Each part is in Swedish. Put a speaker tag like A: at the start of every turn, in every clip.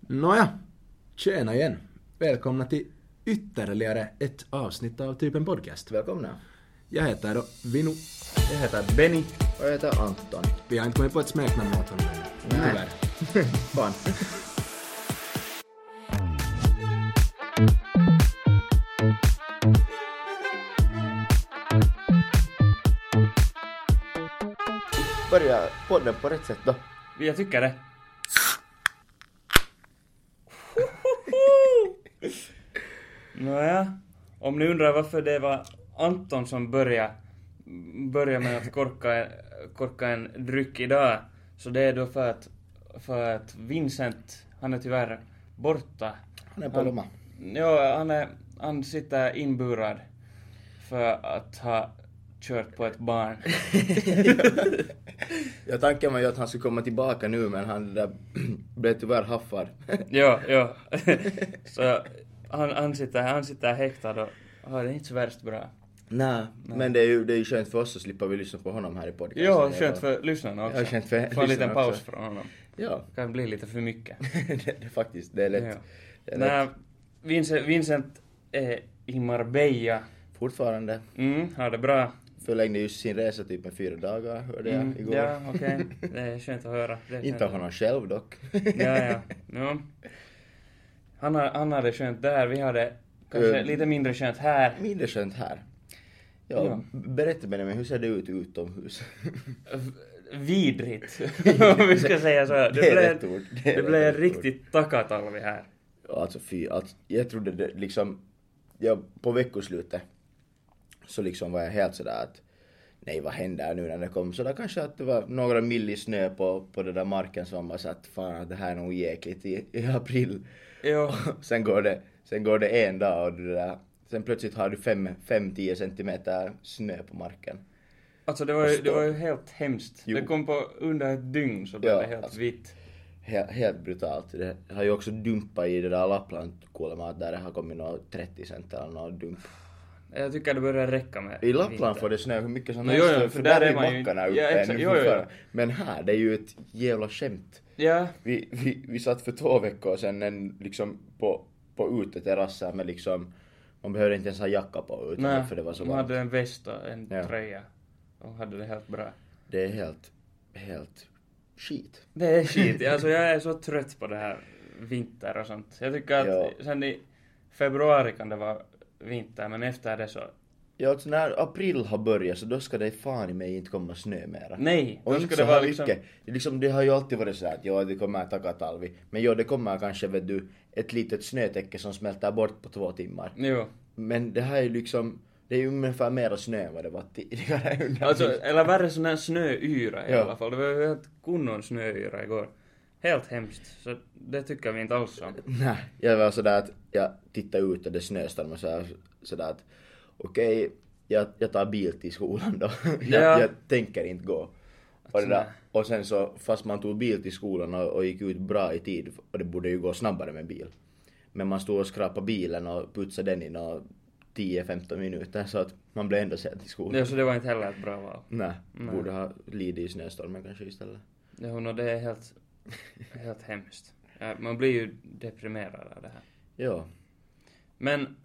A: Nåja, tjena igen. Välkomna till ytterligare ett avsnitt av Typen Podcast.
B: Välkomna.
A: Jag heter då Vinu.
B: Jag heter Benny. Och jag heter Anton.
A: Vi har inte kommit på ett smeknamn åt honom ännu.
B: Nej.
A: Tyvärr.
B: Fan. Börja podden på rätt sätt då.
C: Jag tycker det. Nåja, om ni undrar varför det var Anton som började, började med att korka, korka en dryck idag, så det är då för att, för att Vincent, han är tyvärr borta.
B: Han är på lomma.
C: Ja, han, är, han sitter inburad för att ha kört på ett barn.
B: Ja, tanken var ju att han skulle komma tillbaka nu men han där blev tyvärr haffad.
C: Ja, ja. Så han, han, sitter, han sitter häktad och har det inte så värst bra.
B: Nej, men det är ju det är ju skönt för oss så slipper vi lyssna på honom här i podcasten.
C: Ja, skönt för lyssnarna också.
B: Ja, skönt för
C: Få en liten
B: lyssnarna
C: paus
B: också.
C: från honom.
B: Ja,
C: Det kan bli lite för mycket.
B: det, det, faktiskt, det är lätt.
C: Ja.
B: Det är lätt.
C: Nej, Vincent, Vincent E. är i Marbella.
B: Fortfarande.
C: Mm, har det bra.
B: förlängde just sin resa typ med fyra dagar, hörde jag
C: Mm,
B: igår.
C: ja, okej. Det är skönt att höra. Det är skönt
B: Inte av
C: att
B: honom själv dock.
C: Ja, ja. ja. Han, har, han hade skönt där, vi hade kanske
B: Mm.
C: lite mindre skönt här.
B: Mindre skönt här. Ja,
C: Ja.
B: Berätta Benjamin, hur ser det ut utomhus?
C: V- Vidrigt, om vi ska säga så. Det,
B: Det är
C: blev,
B: rätt ord. Det
C: Det,
B: är
C: blev
B: rätt
C: en
B: ord.
C: riktigt takatalvi här.
B: Ja, alltså fy, alltså, jag trodde det liksom, jag, på veckoslutet så liksom var jag helt sådär att nej vad händer nu när det kom sådär kanske att det var några mill i snö på, på den där marken som var så att fan det här är nog jäkligt i, i april.
C: Jo,
B: sen, går det, sen går det en dag och det där, sen plötsligt har du 5-10 centimeter snö på marken.
C: alltså det var ju, det var ju helt hemskt.
B: Jo.
C: Det kom på under ett dygn så blev
B: Ja,
C: det helt
B: alltså.
C: vitt.
B: Helt, helt brutalt. Det har ju också dumpat i det där Lappland kuulemma att där det har kommit nå 30 cent eller nå dump.
C: Jag tycker det börjar räcka med
B: I Lappland
C: vinter.
B: får det snö hur mycket som
C: No,
B: helst
C: jo, jo,
B: för där är man
C: ju-
B: mackarna
C: ja,
B: uppe
C: exakt,
B: ännu
C: jo, jo, jo.
B: fortfarande. Men här det är ju ett jävla skämt.
C: Ja,
B: Vi, vi, vi satt för två veckor sedan en, liksom på, på uteterrasser med liksom man behövde inte ens ha jacka på utan
C: nej.
B: för det var så
C: Man
B: varmt.
C: hade en väst och en
B: Ja.
C: tröja. Och hade det helt bra.
B: Det är helt, helt skit.
C: Det är skit. Alltså jag är så trött på det här vinter och sånt. Jag tycker att
B: Ja.
C: sen i februari kan det vara vinter men efter det så...
B: Ja, alltså när april har börjat så då ska det fan i mig inte komma snö mera.
C: Nej,
B: Och
C: då
B: inte
C: ska
B: så
C: det vara
B: här
C: liksom...
B: mycket. Det, är liksom, det har ju alltid varit så här att ja, det kommer takatalvi. Men ja, det kommer kanske vet du, ett litet snötäcke som smälter bort på två timmar.
C: Jo.
B: Men det här är ju liksom, det är ju ungefär mera snö än vad det var tidigare. under
C: Alltså,
B: min-
C: eller värre sån här snöyra i
B: Ja.
C: alla fall. Det var ju helt kunnon snöyra igår. Helt hemskt. Så det tycker vi inte alls om.
B: Nej, jag var sådär att jag tittar ut och det snöstormar så här, sådär att okej, jag, jag tar bil till skolan då. jag,
C: Ja.
B: jag tänker inte gå. Och, det där, och sen så, fast man tog bil till skolan och, och gick ut bra i tid, och det borde ju gå snabbare med bil. Men man stod och skrapade bilen och putsade den i nå 10-15 minuter så att man blev ändå sen till skolan.
C: Ja, så det var inte heller ett bra val.
B: Nej, borde ha lidit i snöstormen kanske istället.
C: Jo, no, det är helt, helt hemskt. Ja, man blir ju deprimerad av det här.
B: Ja,
C: Men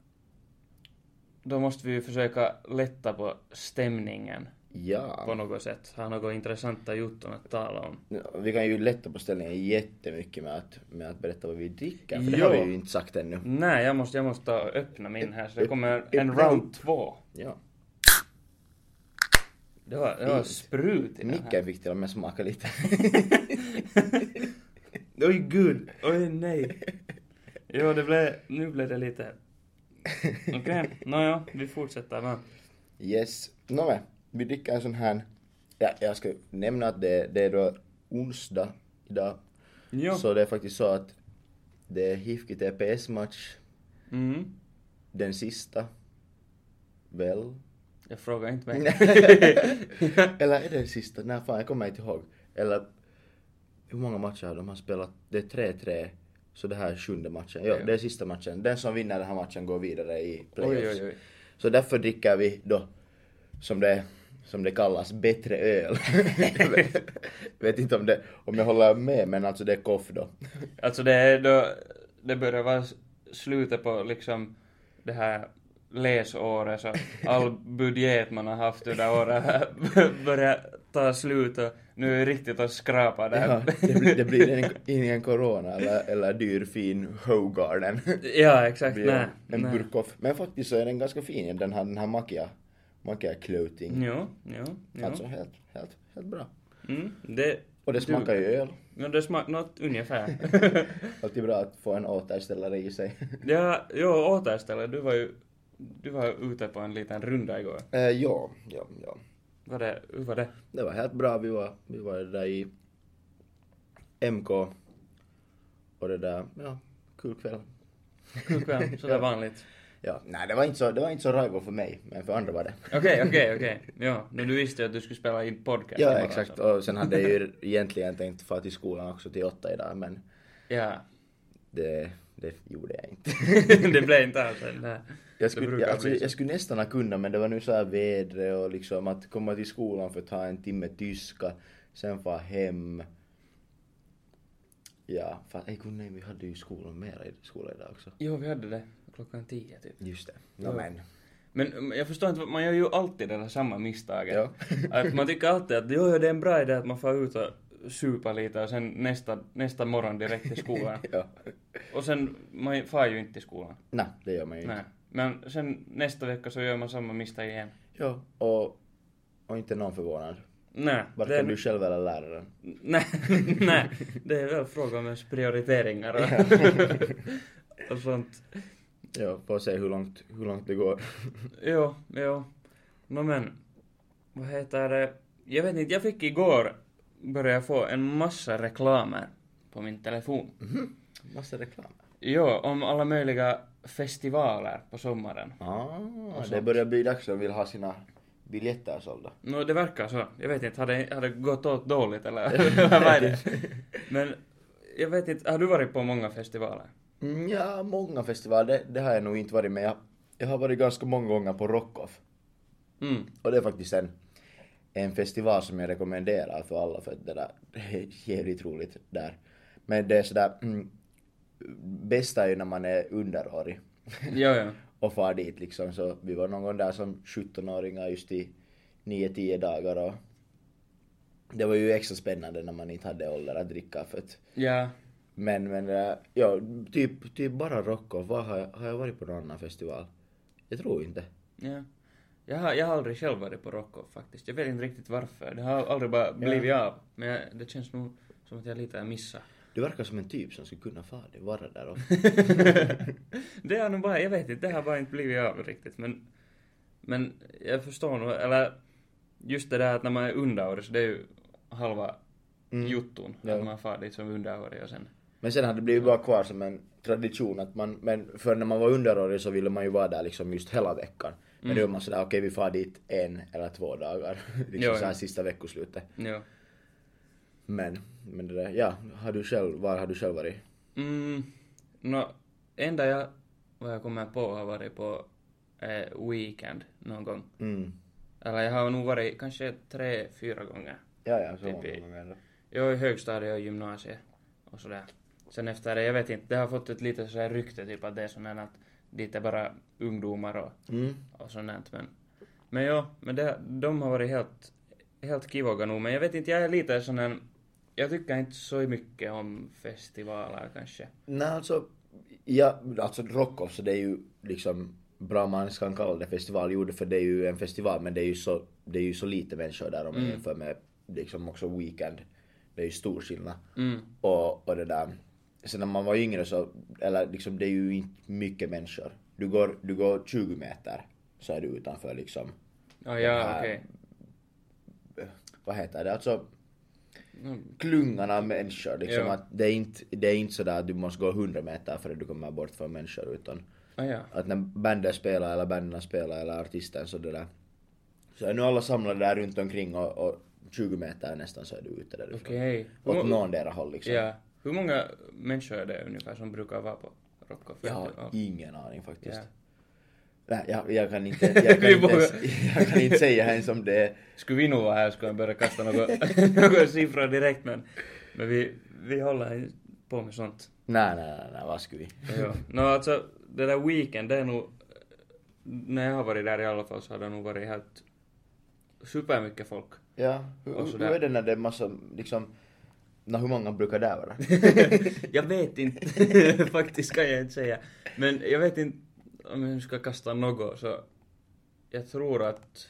C: då måste vi ju försöka lätta på stämningen
B: ja.
C: på något sätt. Har något intressanta jotton att tala om.
B: Ja, Vi kan ju lätta på ställningen jättemycket med att, med att berätta vad vi dricker, för det
C: Ja. Mm.
B: har vi ju inte sagt ännu.
C: Nej, jag måste, jag måste ta och öppna min här så det
B: Öpp-
C: kommer en
B: öppna
C: round två.
B: Ja.
C: Det var, det var
B: Fint.
C: sprut i den här.
B: Micke fick till och med smaka lite.
C: Oj gud, oj nej. Jo, det blev, nu blev det lite... Okej, nåja, vi fortsätter med.
B: Yes. Nåväl, vi dricker en sån här... Ja, jag ska nämna att det, det är då onsdag idag.
C: Jo.
B: Så det är faktiskt så att det är Hifki TPS-match,
C: Mm.
B: den sista. Väl?
C: Jag frågar inte mig.
B: Eller är det den sista? Nej, fan jag kommer inte ihåg. Eller hur många matcher har de har spelat? Det är 3-3, så det här är sjunde matchen. Ja,
C: Ja.
B: det är sista matchen. Den som vinner den här matchen går vidare i
C: oj,
B: playoffs.
C: oj, oj.
B: Så därför dricker vi då, som det är som det kallas, bättre öl. Jag vet, vet inte om, det, om jag håller med, men alltså det är koff då.
C: Alltså det är då, det börjar vara slutet på liksom det här läsåret så all budget man har haft under året börjar ta slut och nu är det riktigt att skrapa
B: Ja,
C: där.
B: det blir, det blir en, ingen corona eller, eller dyr fin Hogarden.
C: ja exakt,
B: blir
C: nej.
B: en, en
C: nej.
B: burk off. Men faktiskt så är den ganska fin, den här, den här makia, makia clothing.
C: Jo, jo, jo.
B: Alltså helt, helt, helt bra.
C: Mm, det,
B: Och det smakar ju öl.
C: no, det smakar något ungefär.
B: Alltid bra att få en återställare i sig.
C: ja, jo, återställare, du var ju du var ute på en liten runda igår.
B: Eh, ja, ja, ja.
C: Var det, hur var det?
B: Det var helt bra. Vi var, vi var där i MK. Och det där, ja, kul kväll.
C: Kul kväll, sådär vanligt.
B: Ja, nej det var inte så, det var inte så rival för mig, men för andra var det.
C: Okej, okej, okej. no Ja, men du visste ju att du skulle spela in podcast
B: Ja,
C: imorgon,
B: exakt.
C: så.
B: Och sen hade jag ju egentligen tänkt fara till skolan också till åtta idag, men
C: Ja.
B: det, det gjorde jag inte.
C: det blev inte alls en där.
B: Jag skulle,
C: brukar
B: jag, alltså,
C: bli så.
B: jag skulle nästan ha kunnat, men det var nu så här vädre och liksom att komma till skolan för att ta en timme tyska, sen fara hem. Ja, fan, ej, gud, nej, vi hade ju skolan mera i skolan idag också.
C: Jo, vi hade det klockan tio typ.
B: Just det. No, men.
C: Men mm, jag förstår inte, man gör ju alltid det där samma misstaget.
B: Ja.
C: att man tycker alltid att jo, jo, det är en bra idé att man får ut och supa lite och sen nästa, nästa morgon direkt till skolan.
B: Ja.
C: och sen, man far ju inte till skolan.
B: Nej, det gör man ju inte.
C: Nej. Men sen nästa vecka så gör man samma misstag igen.
B: Ja, och, och inte någon förvånad.
C: Nej. det är-
B: Varken du själv eller läraren.
C: Nej, nej, det är väl fråga om ens prioriteringar och, och sånt.
B: Ja, får se hur långt, hur långt det går.
C: Jo, jo. Nå No men, vad heter det? Jag vet inte, jag fick igår börja få en massa reklamer på min telefon.
B: Massa reklam.
C: Jo, om alla möjliga festivaler på sommaren.
B: Ah, det börjar bli dags att vill ha sina biljetter sålda.
C: Nå, No, det verkar så. Jag vet inte, har det, har det gått åt dåligt eller vad är det? Men jag vet inte, har du varit på många festivaler?
B: Mm, Ja, många festivaler, det, det har jag nog inte varit med. Jag, jag har varit ganska många gånger på Rockoff.
C: Mm.
B: Och det är faktiskt en, en festival som jag rekommenderar för alla för att det där det är jävligt roligt där. Men det är sådär, mm, bästa är ju när man är underårig
C: Jo, jo.
B: och far dit liksom. Så vi var någon gång där som 17-åringar just i 9-10 dagar och det var ju extra spännande när man inte hade ålder att dricka för att
C: Ja.
B: men, men, äh, ja, typ, typ bara Rocco. Vad har, jag, har jag varit på någon annan festival? Jag tror inte.
C: Ja. Jag har, jag har aldrig själv varit på Rockoff faktiskt. Jag vet inte riktigt varför. Det har aldrig bara blivit av. Men jag, det känns nog som att jag lite har missat.
B: Du verkar som en typ som skulle kunna fara det, vara där ofta.
C: det har nog bara, jag vet inte, det har bara inte blivit av riktigt. Men, men jag förstår nog, eller just det där att när man är underårig så det är ju halva jutton. Att man far dit som underårig och sen...
B: Men sen har det blivit bara kvar som en tradition att man, men för när man var underårig så ville man ju vara där liksom just hela veckan. Men
C: Mm.
B: nu är man sådär, okej vi far dit en eller två dagar.
C: Jo,
B: liksom såhär
C: ja.
B: sista veckoslutet.
C: Ja.
B: Men, men det där, ja, har du själv, var har du själv varit?
C: Mm, no, enda jag, vad jag kommer på har varit på eh, weekend någon gång.
B: Mm.
C: Eller jag har nog varit kanske tre, fyra gånger.
B: Ja, ja, så
C: Typ
B: många
C: i-
B: gånger ändå.
C: Jag var i högstadiet och gymnasiet och sådär. Sen efter det, jag vet inte, det har fått ett litet sådär rykte typ att det är sådär att dit är bara ungdomar och,
B: Mm.
C: och sådant men... Men ja, men det, de har varit helt, helt kivoga nog men jag vet inte, jag är lite sån här... Jag tycker inte så mycket om festivaler kanske.
B: Nej, alltså, ja, alltså Rockoff, så det är ju liksom bra man kan kalla det festival. Jo, det- för det är ju en festival, men det är ju så, det är ju så lite människor där om
C: Mm.
B: man jämför med liksom också Weekend. Det är ju stor skillnad. Mm. Och, och det där. Sen när man var yngre så, eller liksom det är ju inte mycket människor. Du går, du går 20 meter så är du utanför liksom,
C: Ja, ja
B: här-
C: okej.
B: vad heter det, alltså
C: Mm.
B: klungan av människor. Liksom
C: Ja.
B: att det är inte, det är inte sådär att du måste gå 100 meter för att du kommer bort från människor utan
C: Ah, ja.
B: att när bandet spelar eller banden spelar eller artisten så det där så är nu alla samlade där runt omkring och, och 20 meter nästan så är du ute därifrån.
C: Okej.
B: Åt
C: Hur, må-
B: någondera håll liksom.
C: ja. Hur många människor är det ungefär som brukar vara på Rockoff?
B: Jag har ingen aning faktiskt. Nej, jag, jag kan inte, jag kan
C: Vi
B: inte, ens,
C: borde-
B: jag kan inte säga ens om det är...
C: Skulle vi nog vara här skulle jag börja kasta något- några siffror direkt men, men vi, vi håller inte på med sånt.
B: Nej, nej, nej, nej, vad skulle vi?
C: Ja. Nå alltså, det där weekend, det är nog... När jag har varit där i alla fall så har det nog varit helt supermycket folk.
B: Ja, hur,
C: Och
B: hur
C: sådär.
B: hur är det när det är massa, liksom... nå hur många brukar där vara?
C: jag vet inte, faktiskt kan jag inte säga. Men jag vet inte om jag nu ska kasta något så jag tror att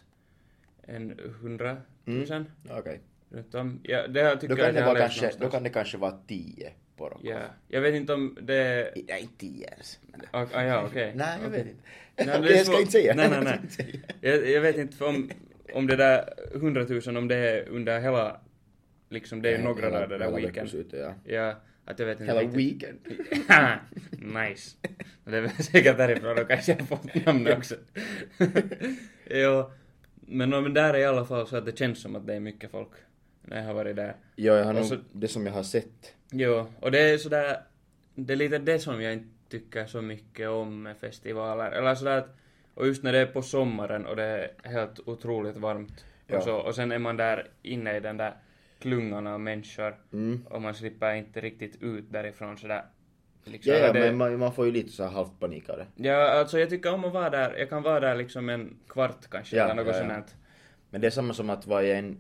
C: en hundratusen
B: Okej.
C: runt om. Ja, det här tycker
B: Mm. Då kan
C: jag att
B: det
C: jag har
B: vara
C: läst
B: kanske, då
C: någonstans.
B: kan det kanske vara tio på Rocco.
C: Ja, jag vet inte om det är...
B: I- Nej, inte tio ens. Men-
C: Ah, ah, ja, okej.
B: Nej, jag
C: Okej.
B: vet inte.
C: Nej, men
B: Okej,
C: det är
B: jag ska
C: svårt.
B: inte säga.
C: Nej, nej, nej.
B: Jag ska inte säga.
C: Jag, jag vet inte om, om det där 100 000, om det är under hela, liksom det är några
B: Hela-
C: dagar det där
B: hela
C: weekend.
B: veckoslutet, ja.
C: Ja, att jag vet inte
B: Hela
C: riktigt.
B: weekend.
C: nice. Det är väl säkert därifrån de kanske har fått namnet också. jo, men, no, men där är i alla fall så att det känns som att det är mycket folk när jag har varit där.
B: Ja, jag har
C: Och
B: nog,
C: så-
B: det som jag har sett.
C: Jo, och det är sådär, det är lite det som jag inte tycker så mycket om med festivaler. Eller sådär att, och just när det är på sommaren och det är helt otroligt varmt.
B: Ja.
C: Och, så, och sen är man där inne i den där klungan av människor
B: Mm.
C: och man slipper inte riktigt ut därifrån sådär. Liksom,
B: Ja, ja,
C: och det-
B: men man, man får ju lite så här halvt panik av det.
C: Ja, alltså jag tycker om att vara där. Jag kan vara där liksom en kvart kanske,
B: Ja,
C: eller något
B: ja, ja.
C: sånt här.
B: Men det är samma som att vara i en,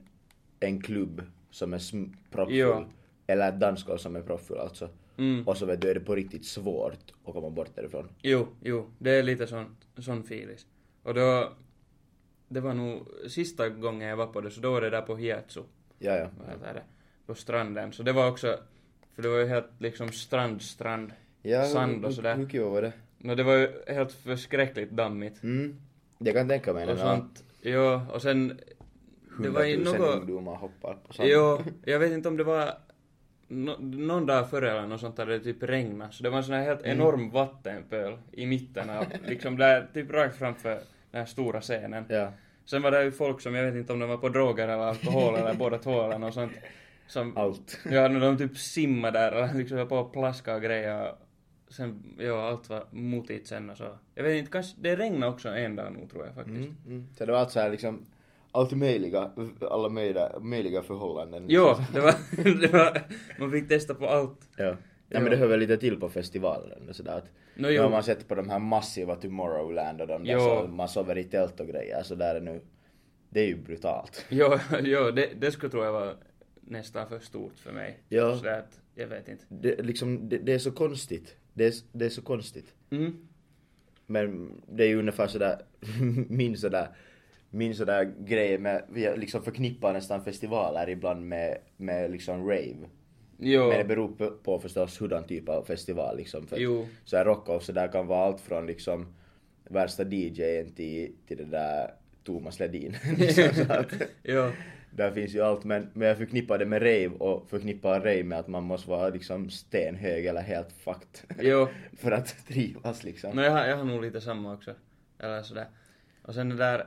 B: en klubb som är sm- proppfull.
C: Ja.
B: Eller ett dansgolv som är proppfull alltså.
C: Mm.
B: Och så vet du, är det på riktigt svårt att komma bort därifrån.
C: Jo, jo, det är lite sån, sån filis. Och då, det var nog sista gången jag var på det, så då var det där på Hiatsu,
B: Ja, ja.
C: vad heter det, på stranden. Så det var också, för det var ju helt liksom strand, strand,
B: ja
C: sand och
B: Hur,
C: sådär.
B: hur kul var det?
C: No, det var ju helt förskräckligt dammigt.
B: Mm. Jag kan tänka mig när
C: Och
B: det var
C: sånt, jo, och sen, det var ju
B: 100 000
C: något...
B: ungdomar hoppar på sand.
C: Jo, jag vet inte om det var nå någon dag före eller något sånt där det typ regnade, så det var en sån här
B: Mm.
C: helt enorm vattenpöl i mitten av, liksom där, typ rakt framför den här stora scenen.
B: Ja.
C: Sen var det ju folk som, jag vet inte om de var på droger eller alkohol eller båda två eller något sånt. Som,
B: Allt.
C: ja, när de typ simmade där eller liksom höll på och plaska och grejer. Sen, ja, allt var motigt sen och så. Jag vet inte, kanske, det regnade också en dag nog tror jag faktiskt.
B: Mm. Mm. Så det var allt så här liksom, allt möjliga, alla möjliga, möjliga förhållanden.
C: Jo, det var, det var, man fick testa på allt.
B: Ja. Ja, men det hör väl lite till på festivalen och sådär att
C: Nå,
B: nu
C: jo.
B: har man sett på de här massiva Tomorrowland och de där
C: Jo.
B: så man sover i tält och grejer så där är nu det är ju brutalt.
C: Jo, jo det, det skulle tror jag vara nästan för stort för mig.
B: Ja.
C: Så att, jag vet inte.
B: Det, liksom, det, det är så konstigt. Det är, s- det är så konstigt.
C: Mm.
B: Men det är ju ungefär sådär min sådär min sådär grej med, jag liksom förknippar nästan festivaler ibland med, med liksom rave.
C: Jo.
B: Men det beror på, på förstås hurdan typ av festival liksom. För att
C: Jo.
B: Så här rock och så där kan vara allt från liksom värsta DJn till, till det där Thomas Ledin. liksom, så att,
C: jo.
B: där finns ju allt men, men jag förknippar det med rave och förknippar rave med att man måste vara liksom stenhög eller helt fucked.
C: Jo.
B: för att trivas liksom.
C: No, jag, har- jag har nog lite samma också. Eller sådär. Och sen det där,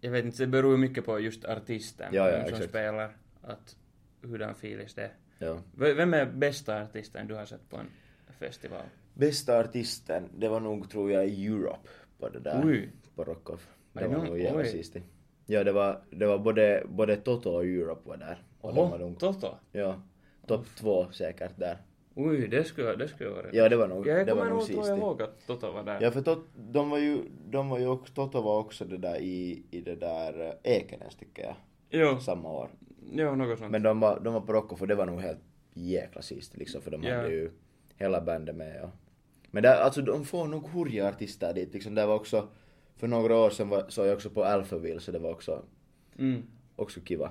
C: jag vet inte, det beror ju mycket på just artisten.
B: Ja, ja,
C: vem som
B: exakt.
C: spelar. Att hurdan filis det är.
B: Ja.
C: V- vem är bästa artisten du har sett på en festival?
B: Bästa artisten, det var nog tror jag Europe på det där.
C: Oj.
B: På Rockoff.
C: Aj,
B: Det var
C: no,
B: nog jävla
C: oj.
B: sist. Ja det var, det var både, både Toto och Europe var där. Och de var
C: Oho,
B: nog,
C: Toto?
B: ja, topp två säkert där.
C: Oj, det skulle, det skulle vara
B: Ja det var nog,
C: Ja, jag
B: det var
C: kommer
B: nog
C: nog tror
B: sist.
C: jag ihåg att Toto var där.
B: Ja för tot, de var ju, de var ju också, Toto var också det där i, i det där eh, Ekenäs tycker jag.
C: Jo,
B: Samma år.
C: jo, något sånt.
B: Men de var, de var på Rocco för det var nog helt jäkla sist liksom för de
C: Ja.
B: hade ju hela bandet med och... Men där, alltså de får nog hurja artister dit liksom. Där var också, för några år sedan var, såg jag också på Alphaville så det var också,
C: Mm.
B: också kiva.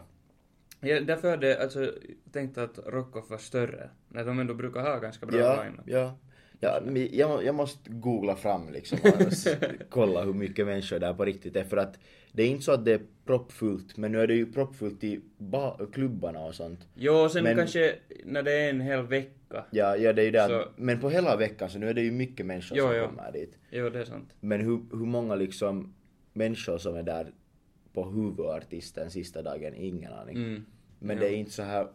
C: Ja, därför hade jag alltså, tänkt att Rockoff var större, när de ändå brukar ha ganska bra
B: Ja,
C: lineup.
B: ja. Ja, men jag, jag måste googla fram liksom och s- kolla hur mycket människor där på riktigt är för att det är inte så att det är proppfullt men nu är det ju proppfullt i ba- klubbarna och sånt.
C: Jo, och sen
B: Men-
C: kanske när det är en hel vecka.
B: Ja, ja det är ju det
C: Så-
B: att, men på hela veckan så nu är det ju mycket människor
C: Jo,
B: som
C: jo.
B: kommer dit.
C: Jo, det är sant.
B: Men hur, hur många liksom människor som är där på huvudartisten sista dagen, ingen aning.
C: Mm.
B: Men
C: Ja.
B: det är inte så här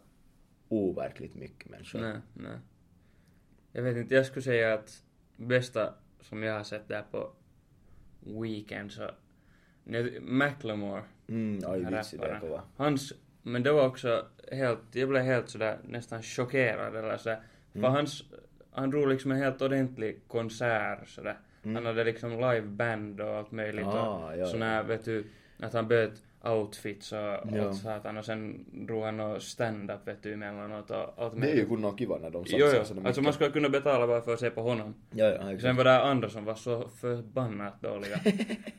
B: overkligt mycket människor.
C: Nej, nej. Jag vet inte, jag skulle säga att bästa som jag har sett där på Weekend så... nu- Macklemore.
B: Mm, oj
C: den här
B: vitsi, det är
C: rapparen.
B: kova.
C: Hans, men det var också helt, jag blev helt sådär nästan chockerad eller sådär. För
B: Mm.
C: hans, han drog liksom en helt ordentlig konsert sådär. Han hade liksom liveband och allt möjligt
B: Mm. Ah,
C: och
B: ja,
C: sådana här, vet du, att han böt outfits och
B: Ja.
C: allt satan och sen drog han och stand-up vet du emellanåt och allt
B: Det är ju
C: möjligt.
B: kunna kiva när de
C: Jo,
B: satsar
C: jo.
B: sådär
C: Alltså man skulle kunna betala bara för att se på honom.
B: Ja, ja,
C: Sen
B: exakt.
C: var det andra som var så förbannat dåliga.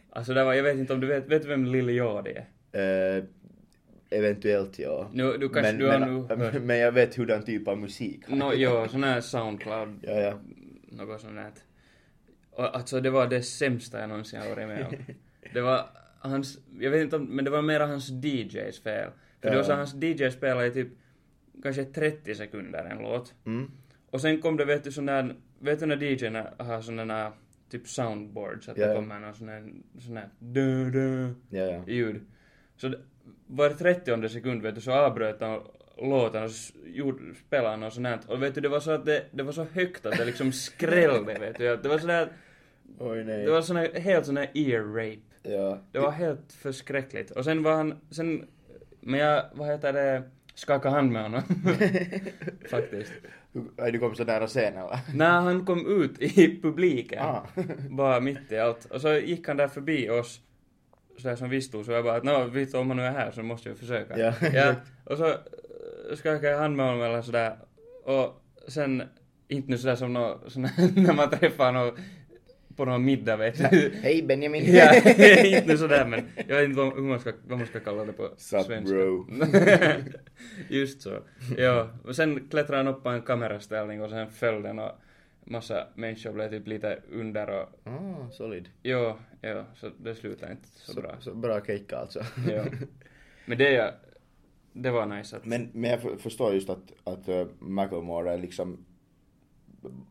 C: alltså det var, jag vet inte om du vet, vet du vem Lil Yachty är?
B: Eh, eventuellt ja.
C: Nu- du kanske- du har
B: men,
C: nu hört.
B: men jag vet hur den typ av musik han
C: Nå, jo, sån här Soundcloud,
B: Ja, ja.
C: något sånt där. Och alltså det var det sämsta jag någonsin har varit med om. Det var hans, jag vet inte om, men det var mera hans DJs fel. För det var så
B: Ja.
C: hans DJ spelade i typ kanske 30 sekunder en låt.
B: Mm.
C: Och sen kom det vet du sån där, vet du när DJn har sådana där typ soundboards, att
B: Ja.
C: det kommer någon sån här, sån här dö, dö,
B: Ja, ja.
C: ljud. Så d- var 30 sekund vet du, så avbröt han låten och s- gjorde, spelade han och sånt här. Och vet du, det var så att det, det var så högt att det liksom skrällde vet du. Att Det var sån här,
B: Oj nej.
C: det var sån här, helt sån här ear rape.
B: Ja.
C: Det var helt förskräckligt. Och sen var han, sen, men jag, vad heter det, skaka hand med honom. Faktiskt.
B: Hur- Aj, du kom så nära scenen va?
C: När han kom ut i publiken.
B: Ah.
C: bara mitt i allt. Och så gick han där förbi oss, sådär som vi stod, så jag bara att "Nå, vet du, om han nu är här så måste jag försöka.
B: Ja.
C: ja och så eh, skakade jag hand med honom eller sådär. Och sen, inte nu sådär som nå, sån här, när man träffar någon på någon middag vet du.
B: Hej Benjamin!
C: ja, inte nu sådär men jag vet inte vad, hur man ska, vad man ska kalla det på
B: Sup,
C: svenska.
B: bro.
C: Just så. Ja, och sen klättrade han upp på en kameraställning och sen föll den och massa människor blev typ lite under och
B: Ah, solid.
C: Jo, jo, så det slutar inte så, bra.
B: Så bra kicka alltså.
C: Jo. Men det, är- det var nice att...
B: Men, men jag för- förstår just att, att uh, Macklemore är liksom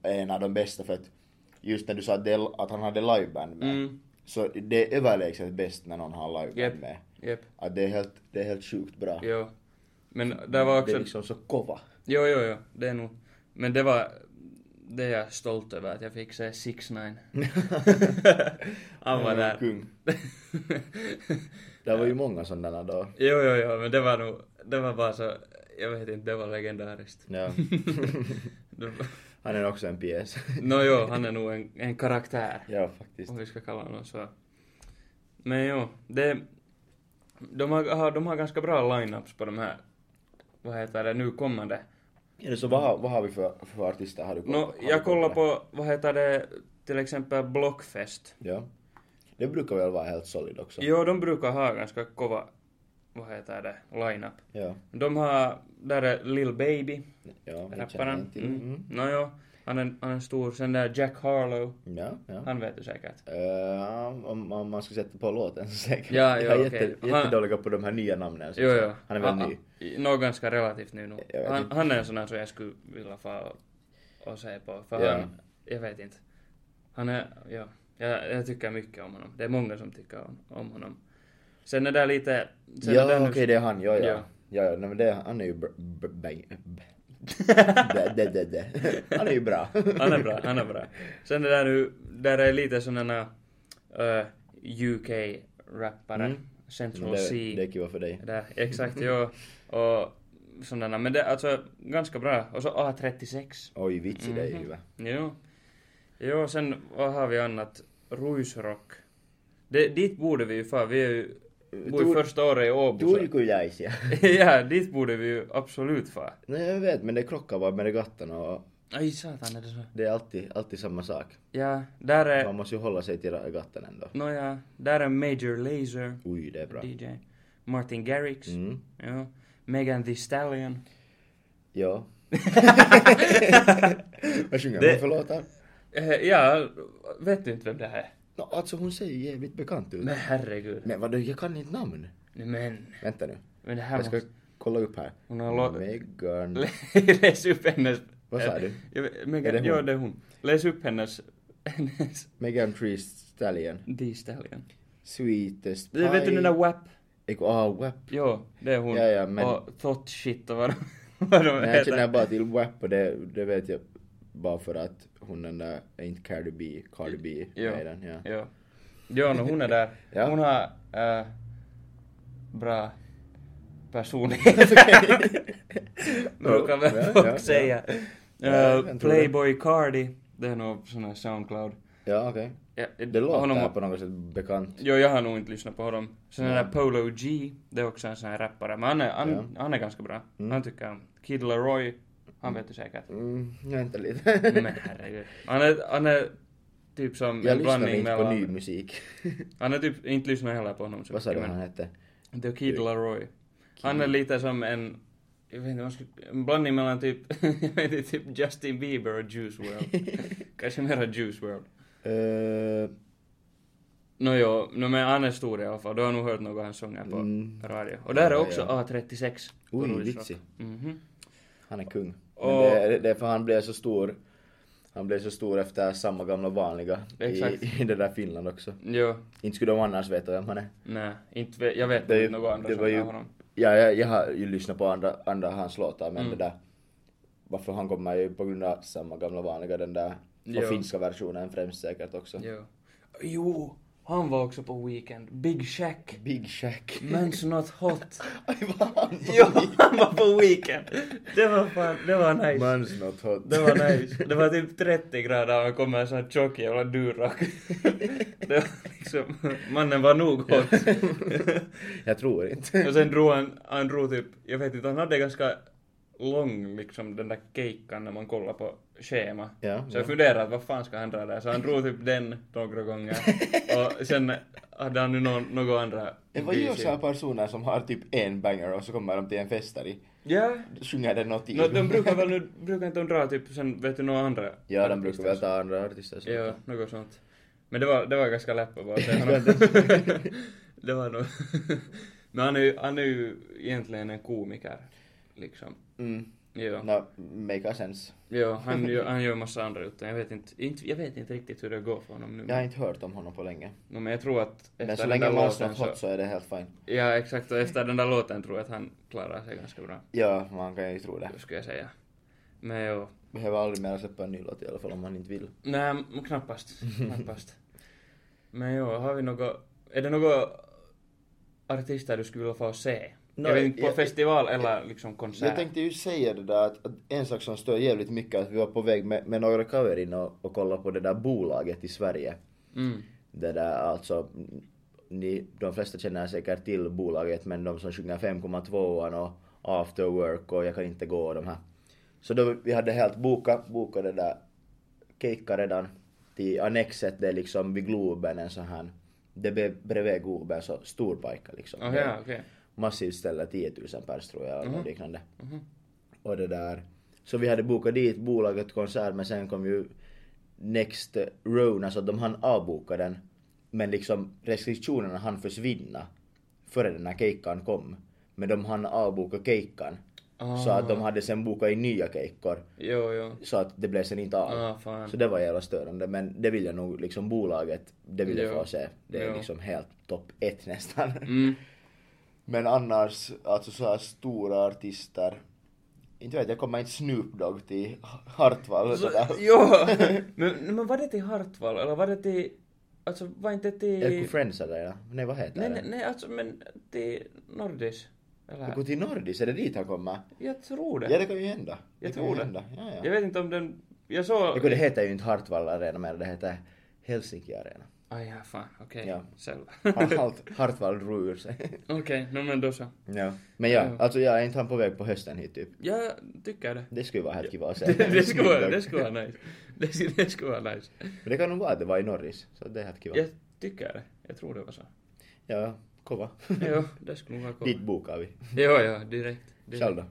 B: en av de bästa för att just när du sa att, det, att han hade liveband med
C: Mm.
B: så det är överlägset bäst när någon har liveband
C: Japp.
B: med.
C: Jep,
B: Att det är helt, det är helt sjukt bra.
C: jo. Men det var
B: Det
C: också...
B: är liksom så kova.
C: Jo, jo, jo, det är nog... Men det var... Det är jag stolt över att jag fick se 6 9 Han var
B: Han är en
C: där.
B: Kung. Det var ju många sådana då.
C: Jo, jo, jo, men det var nog... Det var bara så... Jag vet inte, det var legendariskt.
B: Ja.
C: Det-
B: Han är också en pjäs.
C: Nå No, jo, han är nog en, en karaktär.
B: Ja, faktiskt.
C: Om vi ska kalla honom så. Men jo, det... De har, har, de har ganska bra lineups på de här, vad heter det, nu kommande.
B: Ja, så vad, har- vad har vi för, för artister? Har du koll-
C: Nå,
B: har du
C: jag
B: koll
C: kollar på, vad heter det, till exempel Blockfest.
B: det? Ja. Det brukar väl vara helt solid också?
C: Jo, de brukar ha ganska kova, vad heter det, lineup.
B: Ja.
C: De har, där är Lil Baby,
B: Ja, det känner jag
C: rapparen.
B: inte till.
C: Mm. Nå jo, han är, han är stor. Sen där Jack Harlow,
B: Mm. Ja, ja.
C: han vet du säkert.
B: Eh, om, om man ska sätta på låten så säkert.
C: Ja,
B: jag är
C: ja, okej.
B: jätte, jättedåliga på de här nya namnen. Typ så
C: Jo,
B: att
C: jo. Ah,
B: säga. Han är väl ny?
C: ny? Nå, ganska relativt ny nog.
B: Jag vet
C: Han,
B: inte.
C: han är en sån här som jag skulle vilja få och, och se på. För
B: Ja.
C: han, jag vet inte. Han är, ja. Jag, jag tycker mycket om honom. Det är många som tycker om, om honom. Sen är det lite... Sen
B: Ja,
C: är det
B: okej,
C: nu-
B: det är han. Ja, ja.
C: Ja.
B: ja. ja, nej, men det, är- han är ju bra. b- bang- b- Det- det- det- det. Han är ju bra.
C: Han är bra, han är bra. Sen är det nu, där är lite sådana uh, UK-rappare.
B: Mm.
C: Central
B: Men det,
C: C.
B: det är kiva för dig.
C: Där, exakt, jo. Och sådana. Men det är alltså ganska bra. Och så A36.
B: Oj, vitsi, det är ju
C: Mhm.
B: hyvä.
C: Jo. Jo, sen vad har vi annat? Ruisrock. Det, dit borde vi ju fara. Vi är ju... Bor ju
B: Tur-
C: första året i Åbo. så-
B: Turkulaisia.
C: ja, dit borde vi ju absolut fara.
B: Nej, jag vet, men det krockar bara med regattan och
C: Aj satan, är det så?
B: det är alltid, alltid samma sak.
C: Ja, där är...
B: Man måste ju hålla sig till regattan ändå.
C: Nåja, där är Major Lazer,
B: Oj, det är bra.
C: DJ. Martin Garrix.
B: Mm.
C: Ja. Megan Thee Stallion.
B: Ja. Vad sjunger
C: Det-
B: man för låtar?
C: Eh, Ja, vet du inte vem det här är?
B: No, alltså hon ser ju jävligt bekant ut.
C: Men herregud.
B: Men vadå, jag kan inte namn.
C: Nej, Men,
B: Vänta nu.
C: men det här
B: Jag ska
C: måste...
B: kolla upp här.
C: Hon har lo-
B: Megan...
C: Läs upp hennes...
B: Vad sa du?
C: Jag vet- Megan,
B: Är det hon?
C: ja, det är hon. Läs upp hennes... hennes
B: Megan Tree Stallion.
C: Thee Stallion.
B: Sweetest
C: Det, vet du den där WAP?
B: Eko- Ah, WAP.
C: Jo, det är hon.
B: Ja, ja, men-
C: Och Thought Shit och vad de, vad de
B: Nej, jag
C: heter.
B: känner bara till WAP och det, det vet jag bara för att hon den där, är inte Cardi B, Cardi B
C: Jo.
B: med i den, ja.
C: Jo. Ja, no, hon är där.
B: Ja.
C: Hon har äh, bra personlighet. Brukar väl
B: Ja,
C: folk
B: ja, ja.
C: säga.
B: Ja,
C: Äh,
B: jag tror det.
C: Playboy Cardi, det är nog sån här Soundcloud.
B: Ja, okej.
C: Ja,
B: Det låter
C: honom,
B: på något sätt bekant.
C: Jo, jag har nog inte lyssnat på honom. Sen den där Polo G, det är också en sån här rappare. Men han är, han, han är ganska bra. Han tycker om Kid Laroi, han vet du säkert.
B: Mm, jag väntar lite.
C: Men herregud. Han är, han är typ som
B: jag
C: en
B: lyssnar
C: blandning
B: inte på ny
C: mellan...
B: musik.
C: Han är typ, inte lyssnar heller på honom så
B: Vad sa du
C: mycket, men-
B: han hette?
C: Det är Kid Laroi. Han är lite som en, jag vet inte, vad ska- en blandning mellan typ, jag vet inte, typ Justin Bieber och Juice WRLD. Kanske mera Juice WRLD.
B: Eh,
C: Nåjo, no, men han är stor i alla fall. Du har nog hört några av hans sånger på
B: Mm.
C: radio. Och där är
B: Ja,
C: också
B: ja.
C: A36. på
B: Oj,
C: Nordisk
B: vitsig.
C: Rock. Mhm.
B: han är kung. Men
C: Och-
B: det, det är för han blev så stor. Han blev så stor efter samma gamla vanliga
C: Exakt.
B: i, i det där Finland också.
C: Jo,
B: Inte skulle de annars veta vem han är.
C: nej, inte, vet- jag vet
B: Det är ju-
C: inte några andra
B: det var
C: sånger
B: ju-
C: av honom.
B: Ja, jag, jag har ju lyssnat på andra, andra hans låtar men
C: Mm.
B: det där varför han kommer är ju på grund av samma gamla vanliga den där
C: Jo.
B: och finska versionen främst säkert också.
C: Jo. jo, han var också på Weekend. Big Shack.
B: Big Shack.
C: Men's not hot.
B: Aj vad han
C: jo, han var på Weekend. Det var fan, det var nice.
B: Man's not hot.
C: Det var nice. Det var typ 30 grader och han kom med en sån här tjock jävla durrock. Det var liksom, mannen var nog hot.
B: jag tror inte.
C: Och sen drog han, han drog typ, jag vet inte, han hade ganska lång liksom den där keikan när man kollar på schema.
B: Ja,
C: så
B: ja.
C: jag funderade att vad fan ska han dra där, så han drog typ den några gånger. och sen hade han nu någon, några andra
B: Det var ju
C: biser.
B: sådana personer som har typ en banger och så kommer de till en fest där i.
C: Ja.
B: Sjunger den något i.
C: No, de brukar väl nu, brukar inte de dra typ sen vet du några andra?
B: Ja, de brukar
C: artister?
B: väl ta andra artister. så.
C: Ja, något sånt. Men det var, det var ganska läpp att bara säga honom. det var nog... Men han är, ju- han är ju egentligen en komiker, liksom.
B: Mm.
C: Ja.
B: No, make a sense.
C: Ja, han gör, han gör massa andra utan jag vet inte, inte, jag vet inte riktigt hur det går för honom nu.
B: Jag har inte hört om honom på länge.
C: No, men jag tror att efter
B: Men så
C: den
B: länge
C: där
B: Man's
C: låten
B: not hot
C: så...
B: så är det helt fine.
C: Ja, exakt. Och efter den där låten tror jag att han klarar sig ganska bra,
B: Ja, man kan ju tro det.
C: skulle jag säga. Men jo.
B: Behöver aldrig mer släppa en ny låt i alla fall om man inte vill.
C: Nej, m- knappast. knappast. Men jo, har vi något... Är det något artister du skulle vilja få se?
B: Nå,
C: jag vet inte, på
B: jag-
C: festival eller liksom konsert?
B: Jag tänkte ju säga det där att, att en sak som stör jävligt mycket är att vi var på väg med, med några cover in och, och kollade på det där bolaget i Sverige.
C: Mm.
B: Det där alltså, mm, ni, de flesta känner säkert till bolaget men de som sjunger 5,2an och After Work och Jag kan inte gå och de här. Så då vi hade helt bokat, bokat det där keikka redan till Annexet, det är liksom vid Globen en sån här, det är bredvid Globen så stor pajka liksom.
C: Oh, ja, okej. Mhm.
B: massivt ställe, 10 000 pers tror jag eller något liknande. Och det där. Så vi hade bokat dit bolaget konsert men sen kom ju Next Rona så de hann avboka den. Men liksom restriktionerna hann försvinna före den här keikan kom. Men de hann avboka keikan. Så att
C: Ah.
B: de hade sen bokat in nya keikor.
C: Jo, jo.
B: Så att det blev sen inte av.
C: Ah, fan.
B: Så det var jävla störande men det vill jag nog liksom bolaget, det vill jag
C: Jo.
B: få se. Det är
C: Jo.
B: liksom helt topp ett nästan.
C: Mm.
B: Men annars, alltså så här stora artister. Inte vet jag, kommer inte Snoop Dogg till Hartwall
C: Så,
B: sådär.
C: jo! men, men var det till Hartwall eller var det till... Alltså var inte
B: Joku
C: till...
B: Friends eller ja. Nej vad heter
C: Nej,
B: det?
C: nej, nej, alltså men till Nordis? Eller?
B: Joku till Nordis, är det dit han kommer?
C: Jag tror det.
B: Ja det kan ju hända.
C: Jag
B: kan ju
C: tror det.
B: Hända. Ja,
C: Jag
B: ja.
C: vet inte om den... Jag såg...
B: Joku, det heter ju inte Hartwall Arena mer, det heter Helsinki Arena.
C: Aj, Ah, ja, fan. Okej.
B: Ja.
C: Själva.
B: Hart, Hartwall drog ur sig.
C: Okej, no, men då så.
B: ja. Men ja,
C: Ja.
B: alltså jag är inte han på väg på hösten hit typ.
C: Jag tycker det.
B: Det skulle vara helt kiva att se.
C: Det, det, skulle,
B: Snoop
C: vara,
B: Dogg.
C: det skulle vara nice. Det, skulle- det skulle vara nice.
B: Men det kan nog vara att det var i Norris, så det är helt kiva.
C: Jag tycker det. Jag tror det var så.
B: Ja, kova.
C: Jo, det skulle nog vara coolt.
B: Dit bokar vi.
C: Jo, jo, direkt. direkt.
B: Själv då?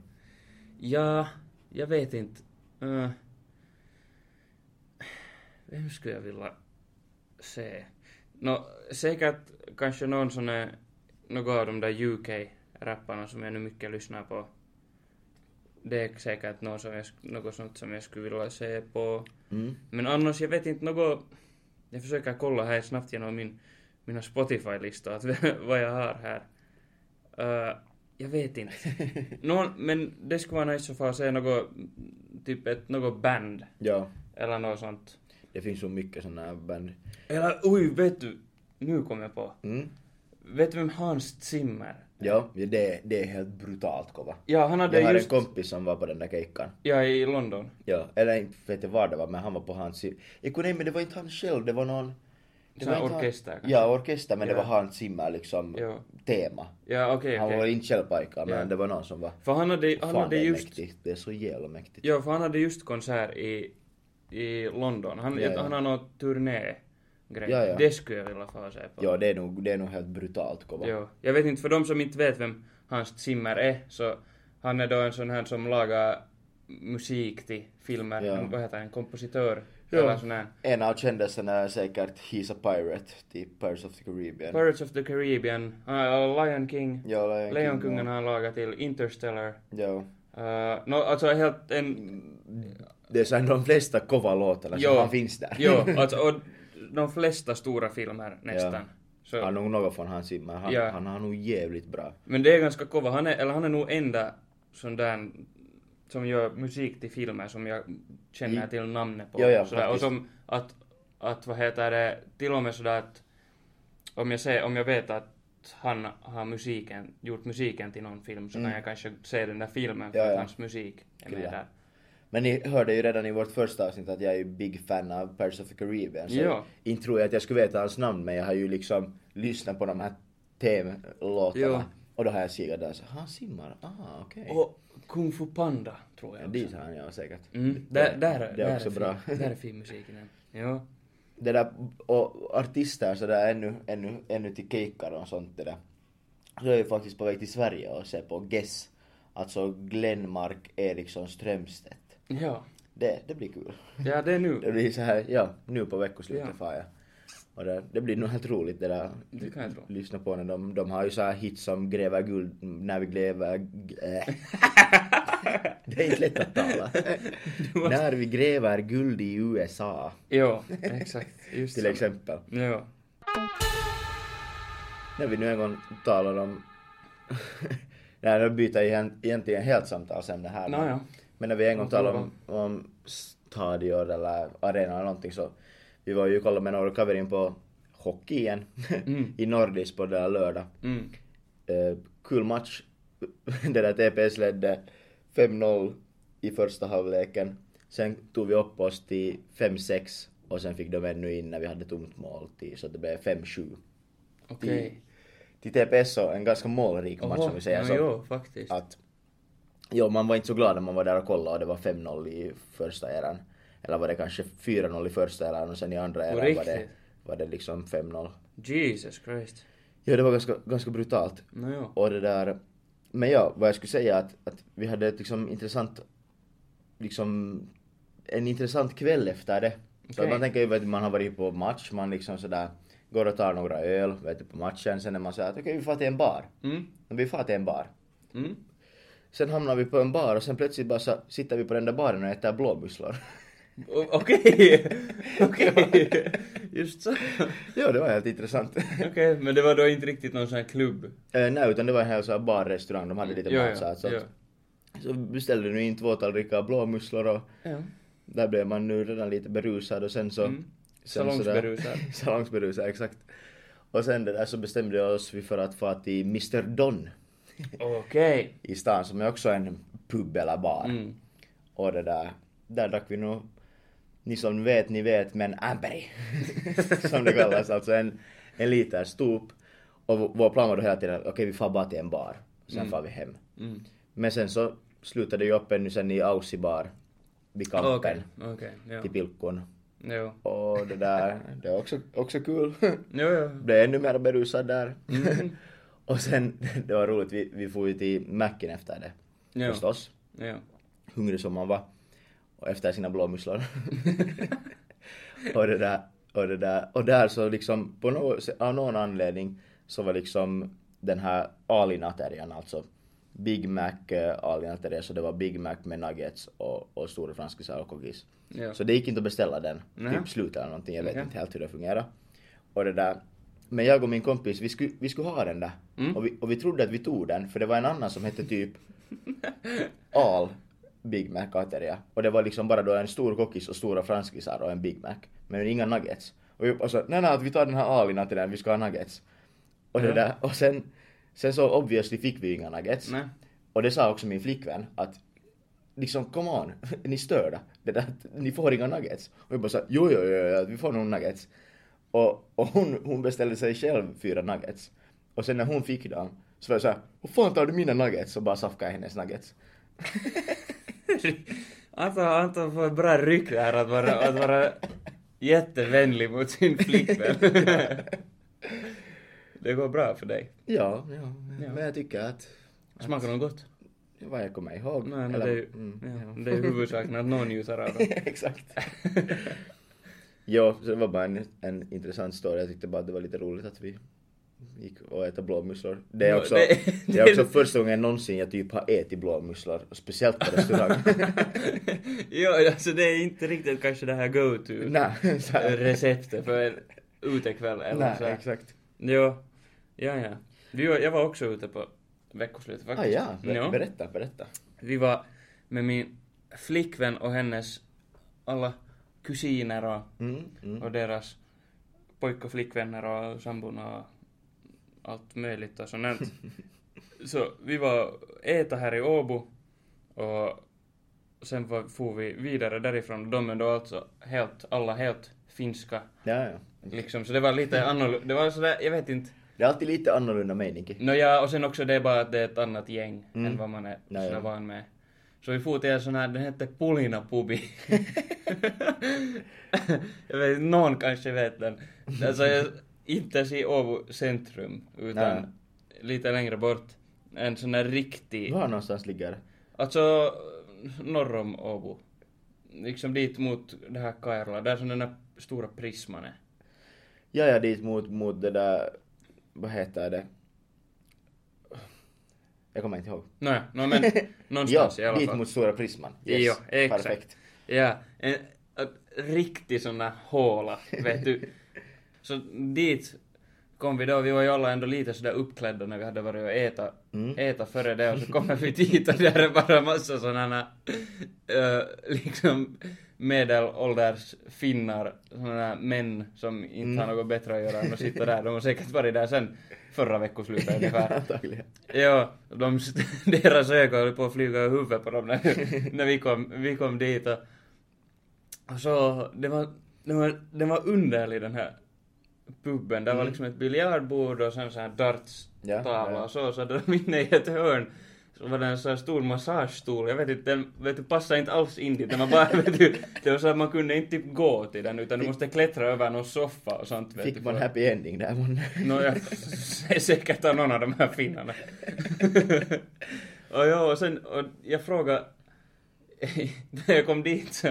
C: Ja, jag vet inte. Eh, vem skulle jag vilja se? No, säkert kanske någon sån här, någon av de där UK-rapparna som jag nu mycket lyssnar på. Det är säkert någon som jag, sk- något sånt som jag skulle vilja se på.
B: Mm.
C: Men annars, jag vet inte något... Jag försöker siis kolla här snabbt genom no min, mina Spotify-listor, att vad jag har här. Öö, Ö, jag vet inte. Någon, No, men det skulle vara nice att få se något, typ ett, något band
B: Ja.
C: eller något sånt.
B: Det finns så mycket såna här band.
C: Eller, oj, vet du? nu kom jag på.
B: Mm.
C: Vet du vem Hans Zimmer?
B: Ja, ja, det, är- det är helt brutalt kova.
C: Ja, han hade
B: Jag har en
C: just...
B: kompis som var på den där kejkan.
C: Ja, i London.
B: Ja, eller inte vet jag var det var, men han var på hans... Jag kunde, nej, men det var inte han själv, det var någon... Det
C: Sån
B: var
C: här
B: inte han-
C: orkester kanske?
B: Ja, orkester, men det
C: Ja.
B: var hans Zimmer liksom
C: Ja.
B: tema.
C: Ja, okej,
B: Han
C: okej.
B: var inte själv pojkar, men
C: Ja.
B: det var någon som var...
C: För han hade, han
B: Fan,
C: hade
B: det är
C: just...
B: mäktigt. Det är så jävla mäktigt.
C: Ja, för han hade just konsert i, i London. Han,
B: Ja, ja.
C: han har någon turné
B: Ja, ja.
C: Det skulle jag vilja få se på.
B: Ja, det är nog, det är nog helt brutalt kova.
C: Jo. Jag vet inte, för de som inte vet vem Hans Zimmer är, så han är då en sån här som lagar musik till filmer.
B: Ja.
C: En- Vad heter han? Kompositör?
B: Ja.
C: Eller sån här.
B: En av kändisarna är säkert He's a Pirate, typ Pirates of the Caribbean.
C: Pirates of the Caribbean, uh, Lion King,
B: ja, Lejonkungen.
C: Lejonkungen har han lagat till, Interstellar.
B: Ja.
C: Uh, no, alltså helt en...
B: Det är så här de flesta kova låtarna som
C: Jo.
B: Mm, han finns där.
C: jo, alltså och de flesta stora filmer nästan. Så,
B: Han har nog något från hans Zimmer. Han,
C: Ja.
B: han har nog jävligt bra.
C: Men det är ganska kova. Han är, eller han är nog enda sån där som gör musik till filmer som jag känner till namnet på.
B: Mm. Ja, ja,
C: sådär. Och
B: faktiskt.
C: som att, att, vad heter det, till och med sådär att om jag, ser, om jag vet att han har musiken, gjort musiken till någon film så kan jag kanske se den där filmen för
B: Mm. Ja,
C: att
B: ja.
C: hans musik är med
B: Kyllä.
C: där.
B: Men ni hörde ju redan i vårt första avsnitt att jag är ju big fan av Pirates of the Caribbean. Så
C: Ja.
B: inte tror jag att jag skulle veta hans namn men jag har ju liksom lyssnat på de här
C: Jo.
B: temlåtarna. Och då har jag sigat där så han simmar, ah okej.
C: Och Kung Fu Panda tror
B: Ja,
C: jag
B: dit
C: också.
B: har han ja säkert.
C: Mm, där, där,
B: det är
C: där
B: också
C: fin,
B: bra.
C: Där är fin musiken än. Ja.
B: det där, och artister sådär ännu, ännu, ännu till keikkar och sånt det där. Så jag är ju faktiskt på väg till Sverige och ser på Guess, alltså Glenmark Eriksson Strömstedt.
C: ja.
B: Det, det blir kul.
C: Ja, det är nu.
B: Det blir så här, ja, nu på veckoslutet
C: Ja.
B: far jag. Och det, det blir nog helt roligt det där.
C: Det kan jag tro.
B: Lyssna på när de, de har ju så här hits som Gräva guld, När vi gräver... g- Äh. det är inte lätt att tala. när vi gräver guld i USA,
C: Jo, exakt. Just
B: till
C: så.
B: exempel.
C: Jo.
B: När vi nu en gång talar om... Nej, nu byter jag igen- egentligen helt samtalsämne här.
C: Nå, ja.
B: Men när vi en gång
C: Vad talar
B: talar om, om stadion eller arenor eller någonting så... Vi var ju och kollade med några kaverin på hockey igen. I Nordis på det där lördag.
C: Mm.
B: Eh, kul match. det där TPS ledde 5-0 i första halvleken. Sen tog vi upp oss till 5-6 och sen fick de ännu in när vi hade tomt mål till, så det blev 5-7
C: Okej.
B: till TPS så en ganska målrik match om vi säger
C: no,
B: så.
C: Jo, faktiskt.
B: Att, jo, man var inte så glad när man var där och kollade och det var 5-0 i första eran. Eller var det kanske 4-0 i första eran och sen i andra
C: På
B: eran var det,
C: riktigt?
B: var det liksom 5-0.
C: Jesus Christ.
B: Ja, det var ganska, ganska brutalt.
C: No, jo.
B: Och det där... Men ja, vad jag skulle säga att, att vi hade ett liksom intressant... Liksom... En intressant kväll efter det. Så
C: Okej.
B: att man tänker ju att man har varit på match, man liksom sådär går och tar några öl, vet du, på matchen. Sen är man såhär att okej, vi far till en bar.
C: Mm.
B: Men vi far till en bar.
C: Mm.
B: Sen hamnar vi på en bar och sen plötsligt bara så sitter vi på den där baren och äter blåmusslor.
C: O- Okej. Okej. Just så.
B: ja, det var helt intressant.
C: Okej, men det var då inte riktigt någon sån här klubb.
B: Eh, nej, utan det var en hel så här barrestaurang, de hade lite
C: Jo,
B: mat
C: jo,
B: så här, så,
C: jo.
B: att- så beställde vi in två tallrikar blåmusslor och
C: Ja.
B: där blev man nu redan lite berusad och sen så...
C: Mm.
B: sen så där-
C: Salongsberusad.
B: Salongsberusad, exakt. Och sen det där så bestämde jag oss för att få till Mr Don
C: Okej.
B: i stan som är också en pub eller bar.
C: Mm.
B: Och det där, där drack vi nog, ni som vet, ni vet, men Amberg. som det kallas, alltså en, en liter stop. Och v- vår plan var då hela tiden, okej vi far bara till en bar. Sen far vi hem.
C: Mm.
B: Men sen så slutade ju upp ännu sen i Aussie bar. Vid kampen.
C: Okej. Okej.
B: Till
C: Jo.
B: Pilkkon.
C: Jo.
B: Och det där, det är också, också kul.
C: Jo, jo.
B: Blev ännu mer berusad där. och sen, det var roligt, vi, vi for ju till Macken efter det.
C: Jo.
B: Förstås
C: Jo.
B: hungrig som man var och efter sina blåmusslor. och det där, och det där, och där så liksom på något, av någon anledning så var liksom den här alinaterjan alltså Big Mac eh, alinaterja så det var Big Mac med nuggets och, och stora franskisar och cookies.
C: Jo.
B: Så det gick inte att beställa den,
C: Nej.
B: typ slut eller någonting, jag vet
C: Okej.
B: inte helt hur det fungerar. Och det där, men jag och min kompis, vi skulle, vi skulle ha den där.
C: Mm.
B: Och, vi, och vi trodde att vi tog den, för det var en annan som hette typ all Big Mac ateria. Och det var liksom bara då en stor kockis och stora franskisar och en Big Mac. Men inga nuggets. Och jag, alltså, nej, nej, att vi tar den här alinan till den, vi ska ha nuggets. Och det
C: Ja.
B: där, och sen, sen så obviously fick vi ju inga nuggets.
C: Nej.
B: Och det sa också min flickvän att liksom come on, ni störda. Det där, ni får inga nuggets. Och jag bara sa jo, jo, jo, jo vi får nog nuggets. Och, och hon, hon beställde sig själv fyra nuggets. Och sen när hon fick dem så var jag såhär, hur fan tar du mina nuggets? Och bara safkade jag hennes nuggets.
C: Anton, Anton får ett bra ryck där att vara, att vara jättevänlig mot sin flickvän. det går bra för dig.
B: Ja, ja, men jag tycker att,
C: Smakar de gott?
B: vad jag kommer ihåg.
C: Nej, nej,
B: eller-
C: det, är ju-
B: mm, ja.
C: ja, det är ju huvudsaken att någon njuter av dem.
B: Exakt. ja, så det var bara en, en intressant story. Jag tyckte bara att det var lite roligt att vi gick och äta blåmusslor. Det är
C: Ja,
B: också,
C: det-
B: det är också första gången någonsin jag typ har ätit blåmusslor. och Speciellt på restaurang.
C: ja, alltså det är inte riktigt kanske det här go-to
B: Nej, så här.
C: receptet för en utekväll eller
B: Nej,
C: så. här.
B: exakt.
C: Jo, ja, ja. Vi var, jag var också ute på veckoslutet
B: Ah,
C: faktiskt.
B: ja, Ber- berätta, berätta.
C: Vi var med min flickvän och hennes alla kusiner och,
B: Mm, mm.
C: och deras pojk och flickvänner och sambon och allt möjligt och sånt. där. Så vi var äta här i Åbo och sen var, for vi vidare därifrån. De är då alltså helt, alla helt finska
B: Ja, ja.
C: liksom. Så det var lite annorlunda. Det var sådär, jag vet inte.
B: Det är alltid lite annorlunda mening.
C: Nåja, och sen också det är bara att det är ett annat gäng
B: Mm.
C: än vad man är
B: Ja,
C: sådär
B: ja.
C: van med. Så vi for till en sån här, den hette Pulina Pubi. jag vet inte, någon kanske vet den. Alltså, jag, inte ens i Åbo centrum, utan
B: Nej.
C: lite längre bort. En sån här riktig,
B: Var någonstans ligger det?
C: alltså norr om Åbo. Liksom dit mot det här Kairala, där som den här stora prisman är.
B: Ja, ja, dit mot, mot det där, vad heter det? Jag kommer inte ihåg.
C: Nåja, no, men någonstans i alla fall.
B: dit mot Stora Prisman.
C: Jo, exakt.
B: Perfekt.
C: Ja, en, en riktig sån där håla, vet du. Så dit kom vi då, vi var ju alla ändå lite sådär uppklädda när vi hade varit och äta,
B: Mm.
C: äta före det och så kommer vi dit och där är bara massa sådana uh, liksom medelålders finnar, sådana män som inte har något bättre att göra än att sitta där. De har säkert varit där sen förra veckoslutet ungefär.
B: Antagligen.
C: Ja, de, deras ögon höll på att flyga över huvudet på dem när, när vi, kom, vi kom dit. Och, och så, det var, det, var, det var underlig den här puben. Det var liksom ett biljardbord och sen så här
B: Mm. Ja,
C: dartstavla
B: ja.
C: och så. Så där inne i ett hörn så var det en sån här stor massagestol. Jag vet inte, den vet du, passade inte alls in dit. Den var bara, vet du, det var så att man kunde inte typ gå till den utan du måste klättra över någon soffa och sånt. Vet du,
B: Fick man
C: för-
B: happy ending där månne?
C: Nåja, säkert av någon av de här finnarna. och ja, och Oh, sen, och jag frågade, när jag kom dit så,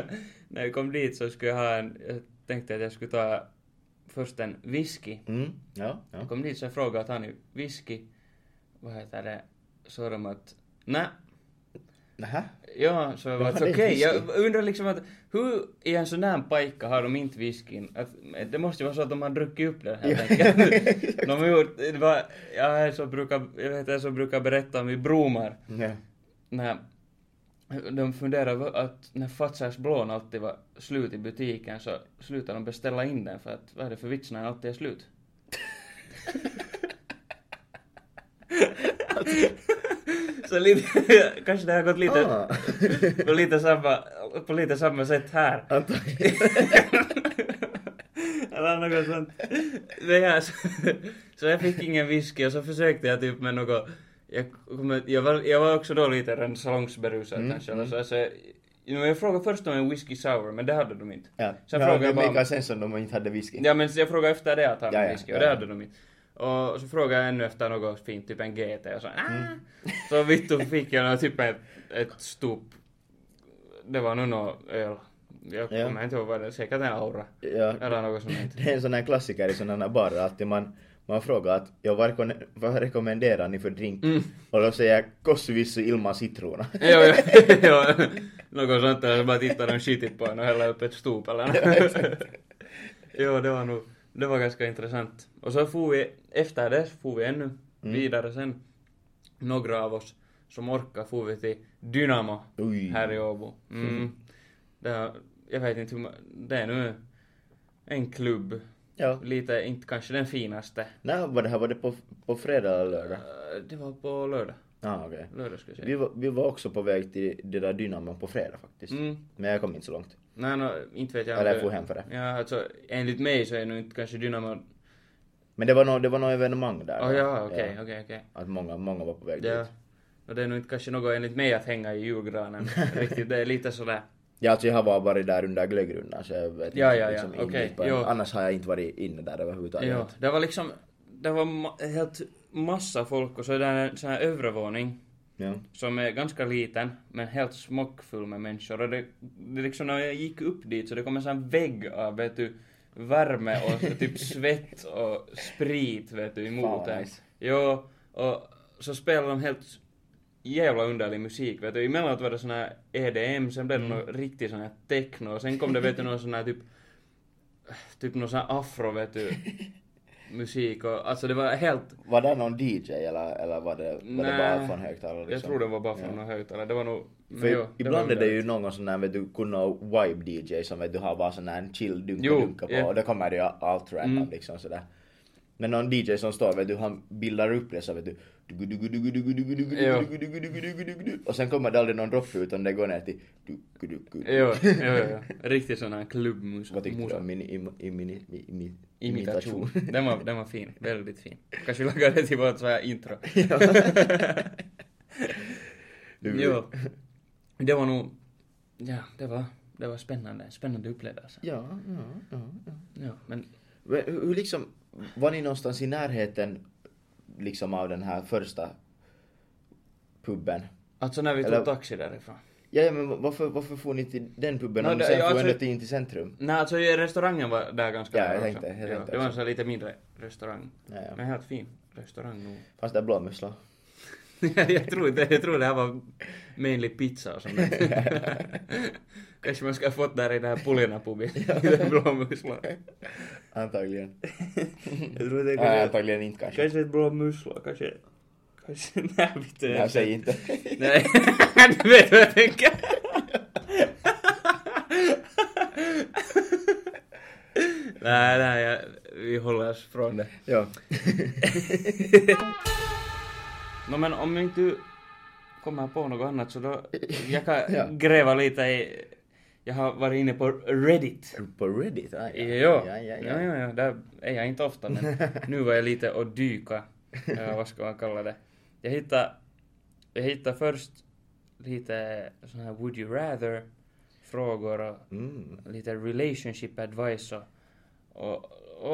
C: när jag kom dit så skulle jag ha en, jag tänkte att jag skulle ta först en whisky.
B: Mm, ja,
C: Jag
B: ja.
C: kom dit så jag frågade att han är whisky, vad heter det, så de att, nä,
B: Nähä?
C: Ja, så jag var
B: Ja, det
C: okej.
B: är whisky.
C: Jag undrar liksom att hur i en sån här pajka har de inte whiskyn? Att, det måste ju vara så att de har druckit upp den helt enkelt. de har gjort, det var, jag är så brukar, jag vet jag så brukar berätta om i Bromar,
B: Ja.
C: när de funderar vad- att när Fazers blån alltid var slut i butiken så slutar de beställa in den för att vad är det för vits när den alltid är slut? så lite, kanske det har gått lite
B: Ah,
C: på lite samma, på lite samma sätt här.
B: antagligen.
C: Eller något sånt. Men ja, så, så jag fick ingen whisky och så försökte jag typ med något... Jag, kommer- jag, var, jag var också då lite en salongsberusad kanske. Eller så, så jag, you know, jag frågade först om en whisky sour, men det hade de inte.
B: Ja.
C: Så jag
B: Ja,
C: frågade
B: det
C: bara om-
B: makar sense om de inte hade whisky.
C: Ja men så jag frågade efter det att han
B: Ja,
C: hade
B: ja,
C: whisky
B: ja,
C: och det
B: ja.
C: hade de inte. Och så frågade jag ännu efter något fint, typ en GT och så mm. Så vittu fick jag nå typ ett, ett stop. Det var nog någon öl. Jag
B: Ja.
C: kommer inte ihåg vad det var, säkert en Aura.
B: Ja.
C: Eller något sånt. här.
B: Det är en sån här klassiker i sådana här barer att man, man frågar att ja, vad, rekon- vad rekommenderar ni för drink?
C: Mm.
B: Och då säger jag kossuvissu ilman citrona.
C: jo, jo, jo. Något sånt där, så bara tittar de skitigt på en och häller upp ett stop eller något. Jo, det var nog, det var ganska intressant. Och så får vi, efter det så får vi ännu vidare sen. Några av oss som orkar får vi till Dynamo Mm.
B: Oj.
C: här i Åbo. Mm. Det, har- jag vet inte hur man, det är nu en klubb.
B: Ja.
C: Lite, inte kanske den finaste.
B: När var det här? Var det på, på fredag eller lördag?
C: Eh, Det var på lördag.
B: Ja, okej.
C: Lördag skulle jag
B: Vi,
C: säga.
B: var, vi var också på väg till det där Dynamon på fredag faktiskt.
C: Mm.
B: Men jag kom inte så långt.
C: Nej, no, inte vet jag. om
B: Eller
C: det-
B: jag for hem för det.
C: Ja, alltså enligt mig så är nog inte kanske Dynamo...
B: Men det var något det var nå evenemang där.
C: Ah, ja, okej, okej, okej.
B: Att många, många var på väg
C: Ja.
B: dit.
C: Och det är nog inte kanske något enligt mig att hänga i julgranen riktigt. Det är lite sådär.
B: Ja, alltså jag har bara varit där under glöggrundan så jag vet
C: Ja,
B: inte
C: ja, ja,
B: liksom in
C: okej,
B: dit på en-
C: jo.
B: Annars har jag inte varit inne där överhuvudtaget.
C: Ja, det var liksom... Det var ma- helt massa folk och så är det en sån här övervåning
B: Ja.
C: som är ganska liten men helt smockfull med människor. Och det, det liksom när jag gick upp dit så det kom en sån här vägg av vet du, värme och typ svett och sprit vet du
B: Fan,
C: emot
B: vad
C: en.
B: nice.
C: Jo, och så spelade de helt jävla underlig musik vet du. Emellanåt var det sån här EDM, sen
B: Mm.
C: blev det någon riktig sån här techno och sen kom det vet du någon sån här typ typ någon sån här afro vet du musik och alltså det var helt
B: Var det någon DJ eller, eller var det, var det
C: Nej.
B: bara från högtalare? Liksom?
C: Jag tror det var bara från någon högtalare. Det var nog...
B: För
C: jo, det
B: ibland
C: var
B: är det ju någon sån där vet du, kunna vibe DJ som vet du har bara sån där en chill dunka
C: Jo,
B: dunka på
C: ja.
B: och då kommer det ju allt random
C: Mm.
B: liksom sådär. Men någon DJ som står vet du, han bildar upp det så vet du dugu, dugu, dugu, dugu, dugu, dugu,
C: Jo.
B: dugu, dugu, dugu, dugu, dugu, dugu. och sen kommer det aldrig någon droppe utan det går ner till dugu, dugu.
C: Jo, jo, jo. Riktigt sån här klubbmusa.
B: Vad tyckte du
C: musa-
B: om min im, im, im, im, im,
C: Imitation. Den var, den var fin. Väldigt fin. Kanske vi lagar det till vårt så här intro.
B: Du-
C: jo. Det var nog... Ja, det var, det var spännande. Spännande upplevelse.
B: Ja, ja, ja, ja.
C: Ja, men...
B: Men hur hur liksom, var ni någonstans i närheten liksom av den här första puben?
C: Alltså när vi tog
B: Eller-
C: taxi därifrån.
B: Ja, ja, men varför, varför får ni till den puben
C: Nå,
B: om ni
C: det-
B: sen
C: ja,
B: får
C: alltså-
B: ända till in till centrum?
C: Nej, alltså restaurangen var där ganska
B: Ja,
C: nära
B: jag
C: också.
B: tänkte- jag
C: Ja,
B: tänkte
C: Det var en
B: också.
C: sån här lite mindre restaurang.
B: Ja, ja.
C: Men helt fin restaurang nog.
B: Fast det är blåmusslor.
C: jag, tror inte, jag tror det här var mainly pizza och sånt där. Kanske man ska ha fått där i den här Puljana-puben, i den blåmusslan.
B: Antagligen.
C: Jag tror det
B: Nej, antagligen inte kanske.
C: Kanske ett blåmussla, kanske... Kanske... Nej, vet du.
B: Nej, säg inte.
C: Nej, du vet vad jag tänker. nej, nej, jag, vi håller oss från det.
B: ja.
C: No, men om jag inte kommer på något annat så då... Jag kan
B: Ja.
C: gräva lite i... Jag har varit inne på Reddit.
B: På Reddit? Ah, ja.
C: Jo,
B: Ja, ja, ja.
C: Ja, ja, ja, där är jag inte ofta men nu var jag lite och dyka. Eller vad ska man kalla det? Jag hittade, jag hittade först lite såna här would you rather frågor och
B: Mm.
C: lite relationship advice och, och,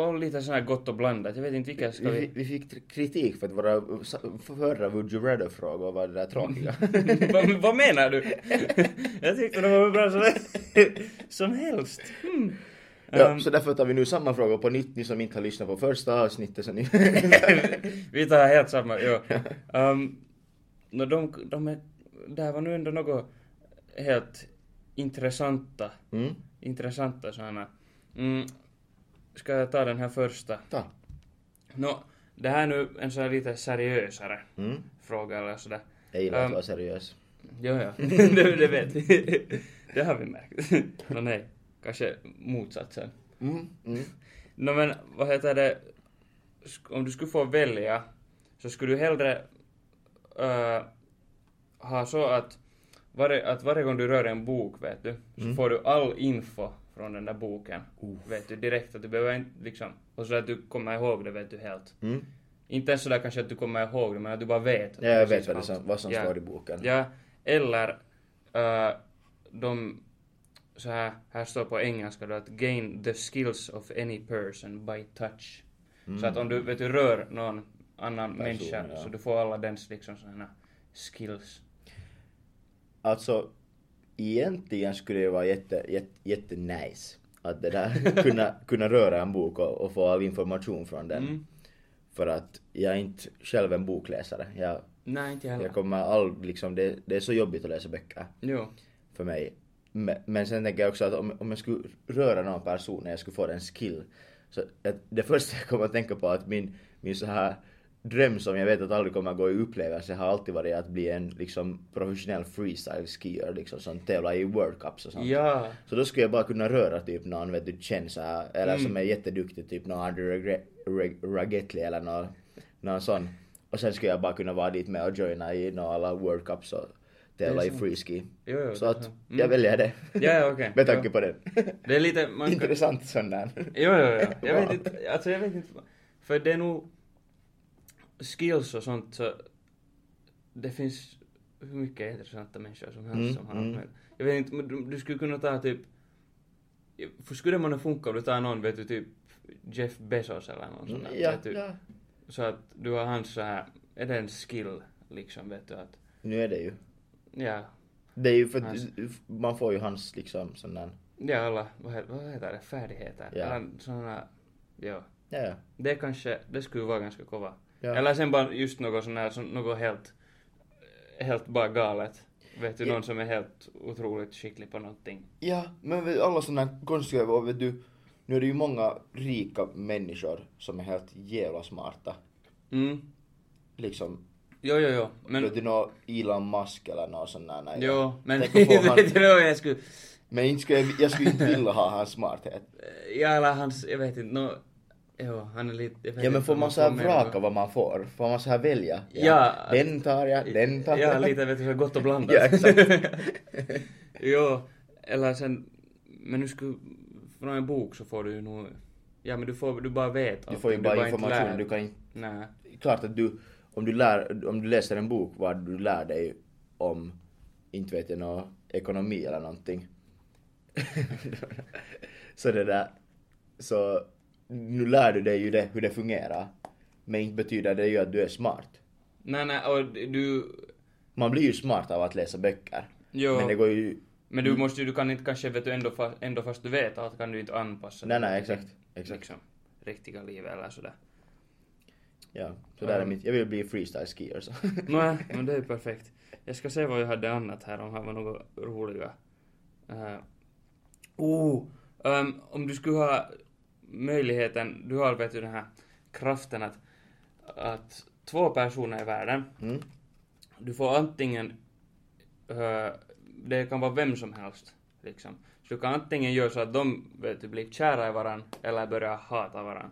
C: och lite sån här gott och blandat. Jag vet inte vilka ska
B: Vi,
C: vi...
B: vi fick tr- kritik för att våra sa- förra Would you rather-frågor var det där tråkiga.
C: vad, vad menar du? jag tyckte de var hur bra som, som helst. Mm.
B: ja,
C: Ehm,
B: så därför tar vi nu samma fråga på nytt, ni som inte har lyssnat på första avsnittet. Så ni...
C: Vi tar helt samma, jo. Um, no, de, de är, det här var nu ändå något helt intressanta,
B: mm.
C: intressanta sådana. Mm, ska jag ta den här första?
B: Ta.
C: Nå, det här är nu en sån här lite seriösare
B: Mm.
C: fråga eller sådär.
B: Jag gillar att
C: Ehm.
B: vara seriös.
C: Jo, ja. det, det vet vi. det har vi märkt. Nå, nej. Kanske motsatsen.
B: Mm. Mm.
C: Nå men vad heter det, Sk- om du skulle få välja så skulle du hellre äh, ha så att varje, att varje gång du rör en bok vet du, så
B: Mm.
C: får du all info från den där boken. Vet du direkt att du behöver inte liksom, och så att du kommer ihåg det vet du helt.
B: Mm.
C: Inte ens sådär kanske att du kommer ihåg det men att du bara vet.
B: Ja, jag vet
C: precis
B: vad, det
C: allt.
B: som, vad som
C: Ja.
B: står i boken.
C: Ja, eller äh, de så här, här står på engelska då att gain the skills of any person by touch. Så att om du, vet du rör någon annan
B: Mm. Person,
C: människa
B: ja.
C: så du får alla dens liksom sådana skills.
B: Alltså, egentligen skulle det vara jätte, jätte, jätte nice att det där, kunna, kunna röra en bok och, och få all information från den.
C: Mm.
B: För att jag är inte själv en bokläsare. Jag,
C: Nej, inte jag heller.
B: jag kommer all, liksom, det, det är så jobbigt att läsa böcker
C: Jo.
B: för mig. Men, men sen tänker jag också att om, om jag skulle röra någon person när jag skulle få den skill. Så att det första jag kommer att tänka på är att min, min så här dröm som jag vet att aldrig kommer att gå i upplevelse har alltid varit att bli en liksom professionell freestyle-skier liksom som tävlar i World Cups och sånt.
C: Ja.
B: Så då skulle jag bara kunna röra typ någon vet du känd så här, eller
C: Mm.
B: som är jätteduktig, typ någon Andrew Regre- Reg- Ragetli eller någon, någon sån. Och sen skulle jag bara kunna vara dit med och joina i några alla World Cups och tävla i freeski.
C: Jo, jo,
B: så
C: det är
B: att
C: sant. Mm.
B: jag väljer det.
C: Ja, ja, okej.
B: med tanke
C: Ja.
B: på den.
C: Det är lite... Man kan,
B: Intressant sån där.
C: Jo, jo, jo. Jag
B: Wow.
C: vet inte, alltså jag vet inte. För det är nog skills och sånt så det finns hur mycket intressanta människor som helst
B: Mm,
C: som har
B: mm.
C: mm. Jag vet inte, men du, du skulle kunna ta typ, för skulle man ha funkat om du tar någon, vet du, typ Jeff Bezos eller någon sån där,
B: Mm, Ja,
C: vet du,
B: ja.
C: Så att du har hans så här, är det en skill liksom, vet du att,
B: Nu är det ju.
C: ja,
B: Det är ju för att
C: Hans.
B: man får ju hans liksom sån där.
C: ja alla, vad, he- vad heter det, färdigheter?
B: Ja.
C: Eller sådana, ja.
B: Ja, ja.
C: Det kanske, det skulle vara ganska kova.
B: Ja.
C: Eller sen bara just något sån här, som- något helt, helt bara galet. Vet du,
B: Ja.
C: någon som är helt otroligt skicklig på någonting.
B: Ja, men vet, alla såna här konstiga, och vet du, nu är det ju många rika människor som är helt jävla smarta.
C: Mm.
B: Liksom,
C: Jo, jo, jo. Men,
B: vet du nå Elon Musk eller något sånt där. nej.
C: jo, men
B: Tänk att få han-
C: vet du vad jag skulle,
B: Men inte skulle jag, jag skulle inte vilja ha hans smarthet.
C: ja eller hans, jag vet inte, nå, jo, han är lite, jag vet
B: Ja
C: inte
B: men får
C: om
B: man
C: han
B: så här
C: mer
B: vraka
C: då.
B: vad man får? Får man så här välja?
C: Ja.
B: Den tar jag, den tar jag.
C: Ja, lite vet du, så gott och blandat.
B: Ja, exakt.
C: jo, eller sen, men nu skulle, från en bok så får du ju nog, ja men du får, du bara vet
B: Du får ju
C: allting,
B: bara
C: inte lär.
B: information, du kan inte
C: Nej.
B: klart att du, om du, lär, om du läser en bok vad du lär dig om, inte vet jag, nå, ekonomi eller någonting. så det där, så nu lär du dig ju det, hur det fungerar. Men inte betyder det ju att du är smart.
C: Nej, nej, och du...
B: Man blir ju smart av att läsa böcker.
C: Jo.
B: Men det går ju,
C: Men
B: Mm.
C: du måste ju, du kan inte kanske, vet du, ändå, fa, ändå fast du vet allt kan du inte anpassa
B: nej
C: dig
B: nej
C: till
B: exakt, exakt.
C: Liksom, riktiga livet eller sådär.
B: Ja, så där är mitt, jag vill bli freestyle skier så.
C: Nej, men det är ju perfekt. Jag ska se vad jag hade annat här, om här var några roliga. Uh, oh, ehm, om du skulle ha möjligheten, du har vet du den här kraften att, att två personer i världen,
B: Mm.
C: du får antingen, eh, det kan vara vem som helst, liksom. Så du kan antingen göra så att de vet du, blir kära i varandra eller börjar hata varandra.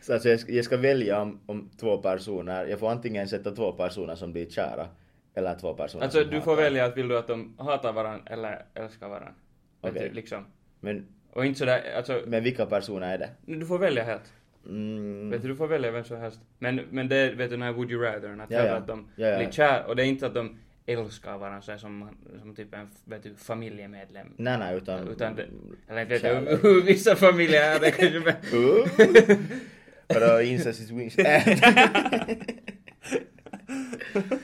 B: Så alltså jag, ska, jag ska välja om, om två personer, jag får antingen sätta två personer som blir kära, eller två personer
C: Alltså
B: som
C: du får
B: hatar.
C: välja att vill du att de hatar varandra eller älskar varandra. Vet
B: Okej.
C: du, Liksom.
B: Men,
C: Och inte sådär, alltså,
B: men vilka personer är det?
C: du får välja helt.
B: Mm,
C: Vet du, du får välja vem som helst. Men, men det är, vet du, den här would you rather, att,
B: Ja,
C: hellre
B: ja.
C: att de
B: Ja, ja.
C: blir kär, och det är inte att de älskar varandra så här som, som typ en, vet du, familjemedlem.
B: nej, nej, utan...
C: Utan det, eller inte vet jag,
B: Kärlek.
C: hur vissa familjer är det kanske, men-
B: Uh, Vadå, incest is wings?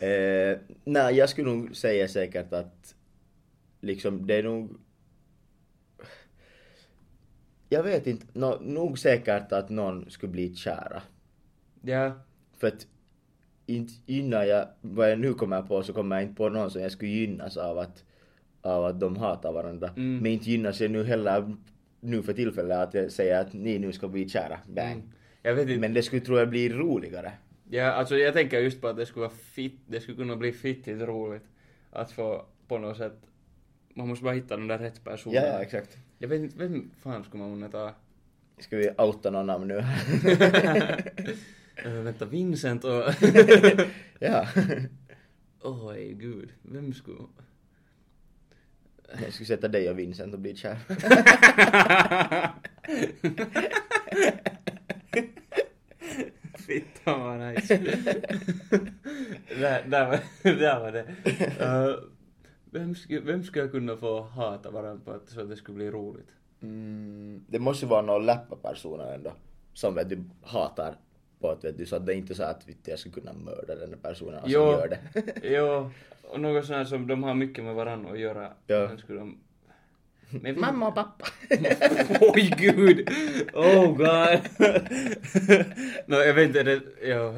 B: eh, nej, jag skulle nog säga säkert att liksom det är nog... Jag vet inte, nå- nog säkert att någon skulle bli kära.
C: Ja,
B: För att inte innan jag, vad jag nu kommer på så kommer jag inte på någon som jag skulle gynnas av att, av att de hatar varandra.
C: Mm.
B: Men inte gynnas jag nu heller nu för tillfället att jag säger att ni nu ska bli kära.
C: Mm.
B: Bang.
C: jag vet inte.
B: Men det skulle tror jag bli roligare.
C: Ja, alltså jag tänker just på att det skulle vara fit, det skulle kunna bli fittigt roligt att få på något sätt, man måste bara hitta den där rätt personen.
B: Ja, ja exakt.
C: Jag vet inte, vem fan skulle man kunna ta?
B: Ska vi outa någon namn nu?
C: Äh, vänta, Vincent och...
B: ja.
C: Oj, gud. Vem skulle...
B: Jag skulle sätta dig och Vincent och bli kär.
C: Fitta vad nice. där, där, var, där var det. Äh, vem, skulle, vem skulle jag kunna få hata varandra på att, så att det skulle bli roligt?
B: Mm, det måste ju vara någon läppa-personer ändå. Som vet du hatar på att vet du, så att det är inte så att vet du, jag skulle kunna mörda den där personen som
C: Jo.
B: gör det.
C: Jo, och något sånt här som de har mycket med varandra att göra.
B: Ja.
C: Sen skulle de... Men-
B: Mamma och pappa.
C: Oj gud! Oh god! no, jag vet inte, är det... Jo.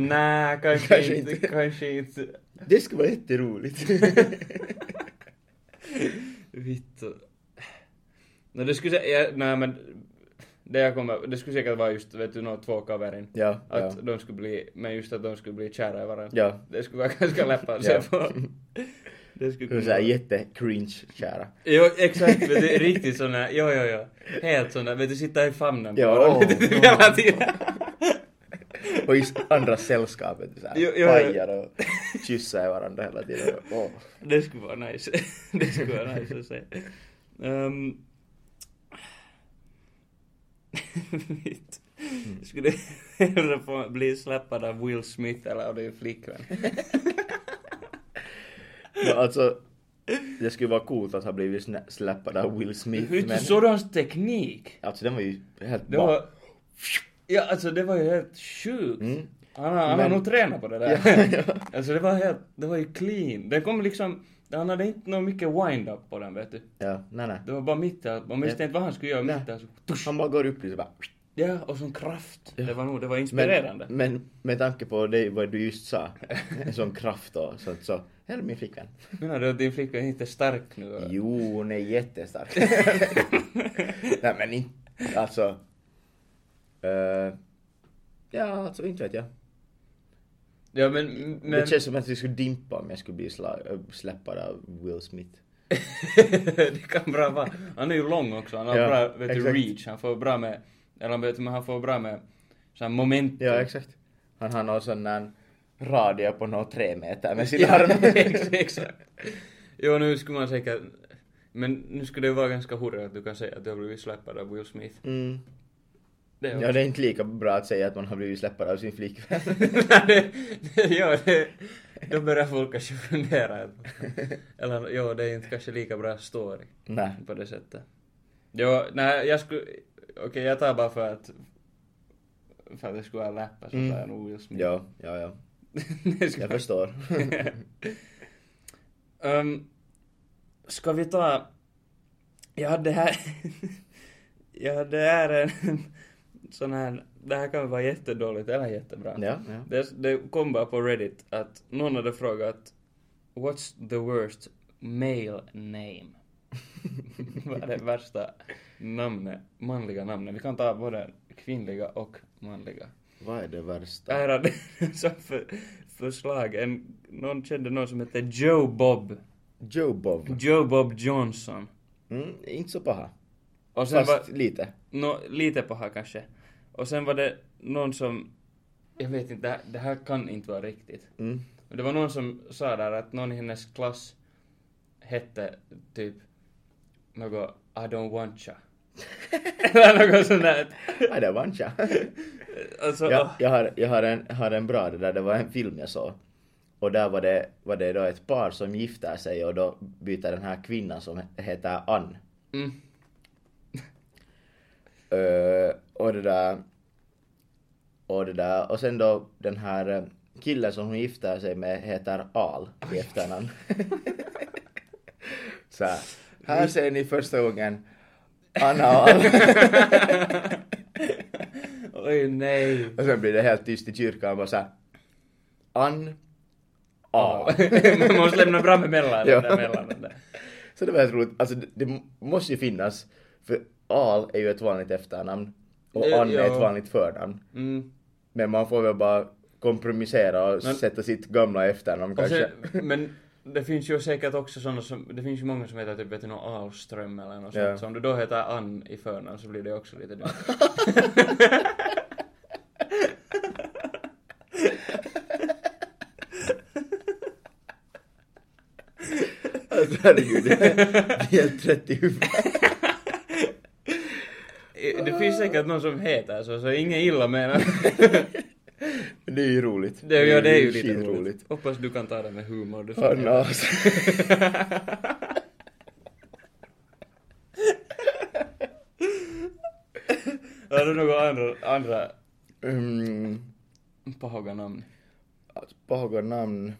C: Nä, kanske,
B: Kanske
C: inte,
B: inte.
C: Kanske inte.
B: Det skulle vara jätteroligt.
C: Vittu. No, det skulle säga... Ja, nej men... Det, jag kommer, det skulle säkert vara just vet du, nå två kaverin.
B: Ja,
C: Att
B: ja.
C: de skulle bli, men just att de skulle bli kära i varandra.
B: Ja.
C: Det skulle vara ganska läppar att se
B: Ja.
C: på. Det skulle kunna
B: Såhär
C: vara-
B: jätte-cringe kära.
C: Jo, exakt. Vet du, riktigt sån där, jo, jo, jo. Helt sån där, vet du, sitta i famnen på
B: Ja,
C: varandra
B: åh,
C: typ hela tiden.
B: Och i andra sällskap, vet du såhär.
C: Jo, jo, jo.
B: Pajar och kyssar varandra hela tiden. Åh.
C: Det skulle vara nice. Det skulle vara nice att se. Ehm. Mitt. Skulle hellre få bli släppad av Will Smith eller av din flickvän.
B: Men alltså, det skulle vara coolt att ha blivit snä- släppad av Will Smith.
C: Vet du,
B: men-
C: sådans teknik!
B: Alltså den var ju helt
C: Det
B: bra.
C: var... Ja, alltså det var ju helt sjukt.
B: Mm.
C: Han, har, han
B: Men-
C: har nog tränat på det där.
B: Ja, ja.
C: Alltså det var helt, det var ju clean. Den kom liksom, han hade inte någon mycket wind-up på den vet du.
B: Ja, nej nej.
C: Det var bara mitt där, man visste
B: Ja.
C: inte vad han skulle göra
B: Nej.
C: mitt där. Så, tush.
B: Han bara går upp lite bara.
C: Ja, och sån kraft. Det var nog, det var
B: Men,
C: inspirerande.
B: men med tanke på det, vad du just sa, en sån kraft och sånt så, här är min flickvän.
C: Menar du att din flicka inte är stark nu? eller?
B: Jo, hon är jättestark. nej men inte, alltså. eh, ja, alltså inte vet jag.
C: Ja men, men...
B: Det känns som att det skulle dimpa om jag skulle bli sla- äh, släppad av Will Smith.
C: det kan bra vara. Han är ju lång också, han har
B: Ja,
C: bra, vet du,
B: exakt.
C: reach. Han får bra med, eller vet du, men han får bra med sån här momentum.
B: Ja, exakt. Han har någon sån där radie på några tre meter med sina
C: Ja,
B: armar.
C: ex- exakt. Jo, nu skulle man säkert... Men nu skulle det vara ganska hurra att du kan säga att du har blivit släpad av Will Smith.
B: Mm.
C: Det
B: Ja, det är inte lika bra att säga att man har blivit släppad av sin flickvän.
C: Nej, det, det, ja, det, då börjar folk kanske fundera. Eller ja, det är inte kanske lika bra story
B: Nej.
C: på det sättet. Jo, nej, jag skulle... Okej, jag tar bara för att... För att det skulle vara läppa så
B: Mm.
C: tar jag nog Will Smith.
B: Ja, ja, ja.
C: Det skulle-
B: Jag förstår.
C: Um, ska vi ta... Jag hade här... jag hade här en sån här... Det här kan vara jättedåligt eller jättebra.
B: ja, ja.
C: Det, det kom bara på Reddit att någon hade frågat What's the worst male name? Vad är det värsta namnet, manliga namnet? Vi kan ta både kvinnliga och manliga.
B: Vad är det värsta?
C: Här hade som för, förslag en, någon kände någon som hette Joe Bob.
B: Joe Bob.
C: Joe Bob Johnson.
B: Mm, inte så paha.
C: Och sen
B: Fast
C: var,
B: lite.
C: nå lite paha kanske. Och sen var det någon som, jag vet inte, det här, det här kan inte vara riktigt.
B: Mm.
C: Men Det var någon som sa där att någon i hennes klass hette typ något I don't want ya. Eller något sånt där.
B: Ja, det var en tja.
C: Alltså,
B: Ja, jag har, jag har, en, har en bra det där, det var en film jag såg. Och där var det, var det då ett par som gifter sig och då byter den här kvinnan som heter Ann.
C: Mm.
B: Eh, och det där... Och det där. Och sen då den här eh, killen som hon gifter sig med heter Al i efternamn. Så här, här ser ni första gången Anna och Al.
C: Oj nej.
B: Och sen blir det helt tyst i kyrkan och bara såhär Ann Al.
C: Man måste lämna bra mellan
B: Ja.
C: den där mellan den där.
B: Så det var helt roligt. Alltså det, det måste ju finnas. För Al är ju ett vanligt efternamn. Och
C: Eh,
B: Ann är
C: ja.
B: ett vanligt förnamn.
C: Mm.
B: Men man får väl bara kompromissera och
C: Men-
B: sätta sitt gamla efternamn
C: Och
B: kanske.
C: sen- men det finns ju säkert också sådana som, det finns ju många som heter typ vet du, någon Ahlström eller något
B: Ja.
C: sånt. Så om du då heter Ann i förnamn så blir det också lite dumt.
B: Alltså, Herregud, det är helt rätt i huvudet.
C: Det finns säkert någon som heter så, så ingen illa menar.
B: Men det är ju roligt.
C: Det, ja, det är ju lite roligt.
B: skitroligt.
C: Hoppas du kan ta det med humor. Du
B: Ann
C: får-
B: As.
C: Har du några andra, andra
B: Mm,
C: pahaga namn?
B: alltså, Pågår namn.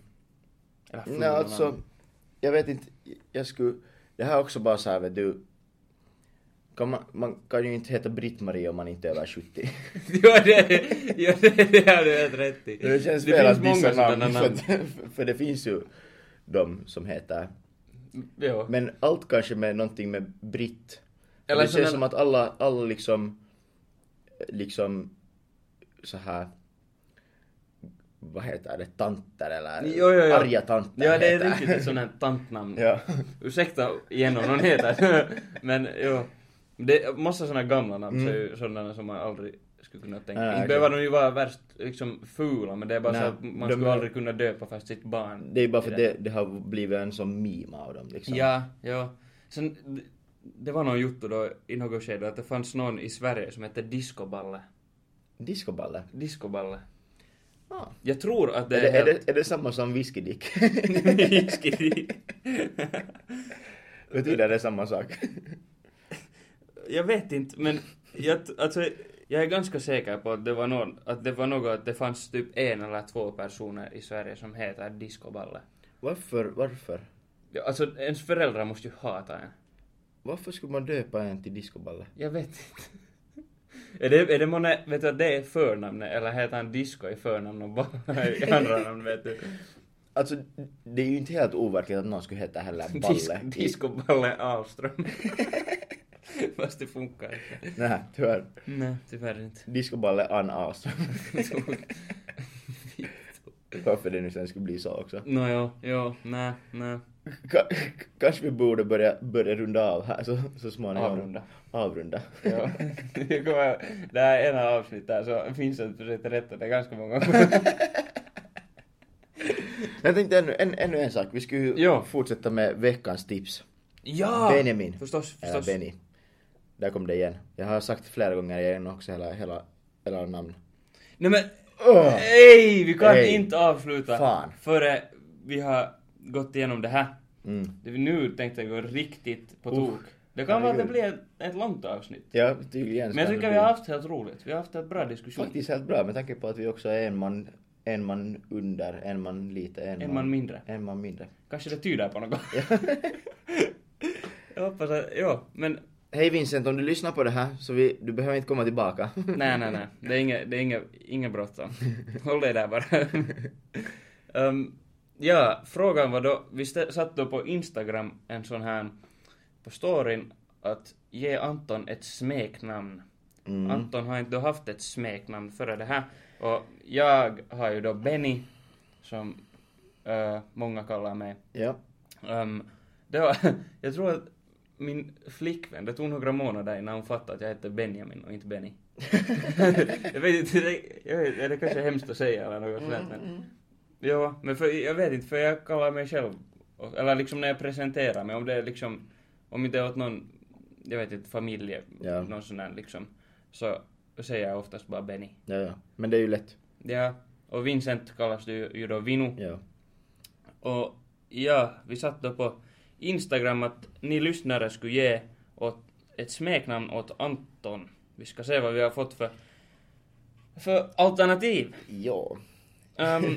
C: Eller fula
B: Nej alltså,
C: namn?
B: jag vet inte, jag skulle, det här är också bara så här vet du, kan man, man kan ju inte heta Britt-Marie om man inte är över 70.
C: ja, det, ja, det, det har du helt rätt i.
B: Det känns fel att dissa
C: sådana
B: namn, För, att- för det finns ju de som heter,
C: Ja.
B: men allt kanske med någonting med Britt.
C: Eller
B: det känns
C: sådana-
B: som att alla, alla liksom liksom så här vad heter det, tanter eller
C: Jo, jo, jo.
B: arga tanter
C: Ja, det är
B: heter.
C: riktigt ett sånt här tantnamn.
B: ja.
C: Ursäkta igen om någon heter Men jo. Det är massa såna gamla namn
B: Mm.
C: så är ju sådana som man aldrig skulle kunna tänka.
B: Nej,
C: Inte
B: nej,
C: behöver de ju vara värst liksom fula men det är bara
B: Nej,
C: så att man
B: de
C: skulle
B: är-
C: aldrig kunna döpa fast sitt barn.
B: Det är bara för
C: till
B: att det, det har blivit en sån meme av dem liksom.
C: Ja, ja. Sen, d- det var någon jotto då i något skede att det fanns någon i Sverige som hette Discoballe.
B: Discoballe.
C: Discoballe.
B: Ah.
C: Jag tror att det
B: Är, det,
C: är,
B: är, det, är det samma som whiskydick?
C: helt...
B: Betyder det samma sak?
C: Jag vet inte, men jag, t- alltså, jag är ganska säker på att det var någon, att det var något, att det fanns typ en eller två personer i Sverige som heter Discoballe.
B: Varför, varför?
C: Ja, Alltså ens föräldrar måste ju hata en.
B: Varför skulle man döpa en till discoballe?
C: Jag vet inte. Är det, är det månne, vet du att det är förnamnet eller heter han Disco i förnamn och bara i andra namn vet du?
B: Alltså, det är ju inte helt overkligt att någon skulle heta heller balle.
C: Dis, discoballe Ahlström. Fast det funkar inte.
B: Nej, tyvärr.
C: Nej, tyvärr inte.
B: Discoballe Ann Ahlström. Varför det nu sen skulle bli så också.
C: Nåjo, jo, nej, nej.
B: Ka- kanske vi borde börja, börja runda av här så, så småningom.
C: Avrunda.
B: Avrunda.
C: Ja. Det kommer- Det här är ena avsnitt där så Vincent försökte rätta det ganska många
B: Jag tänkte ännu en, ännu en sak. Vi skulle ju
C: Ja.
B: fortsätta med veckans tips.
C: Ja!
B: Benjamin.
C: Förstås,
B: Eller
C: förstås.
B: Benny. Där kom det igen. Jag har sagt flera gånger igen också hela, hela, hela namn.
C: Nej men,
B: Åh!
C: Ah. nej vi kan
B: Nej.
C: inte avsluta
B: Fan.
C: före vi har gått igenom det här.
B: Mm.
C: Det vi nu tänkte gå riktigt på
B: Uff.
C: tok. Det kan vara att det
B: Herregud.
C: blir ett, ett långt avsnitt.
B: Ja, tydligen.
C: Men jag tycker vi har haft helt roligt. Vi har haft ett bra diskussion.
B: Faktiskt helt bra med tanke på att vi också är en man, en man under, en man lite, en,
C: En man mindre.
B: En man mindre.
C: Kanske det tyder på något. jag hoppas att, jo, men
B: Hej Vincent, om du lyssnar på det här så vi, du behöver inte komma tillbaka.
C: Nej, nej, nej. Det är inget, det är inget, inget bråttom. Håll dig där bara. Ehm, ja, frågan var då, vi stä- satte på Instagram en sån här, på storyn, att ge Anton ett smeknamn.
B: Mm.
C: Anton har inte då haft ett smeknamn före det här. Och jag har ju då Benny, som eh, många kallar mig.
B: ja.
C: Ehm, det var, jag tror att min flickvän, det tog några månader innan hon fattade att jag hette Benjamin och inte Benny. jag vet inte, det, jag vet, det kanske är hemskt att säga eller något sånt men... Ja, men för, jag vet inte, för jag kallar mig själv, och- eller liksom när jag presenterar mig, om det är liksom, om inte åt någon, jag vet inte, familje,
B: Ja.
C: någon sån här liksom, så säger jag oftast bara Benny.
B: Ja, ja. Men det är ju lätt.
C: Ja, och Vincent kallas du ju- ju då Vinu.
B: Ja.
C: Och ja, vi satt då på Instagram att ni lyssnare skulle ge åt ett smeknamn åt Anton. Vi ska se vad vi har fått för, för alternativ.
B: Ja.
C: Ehm,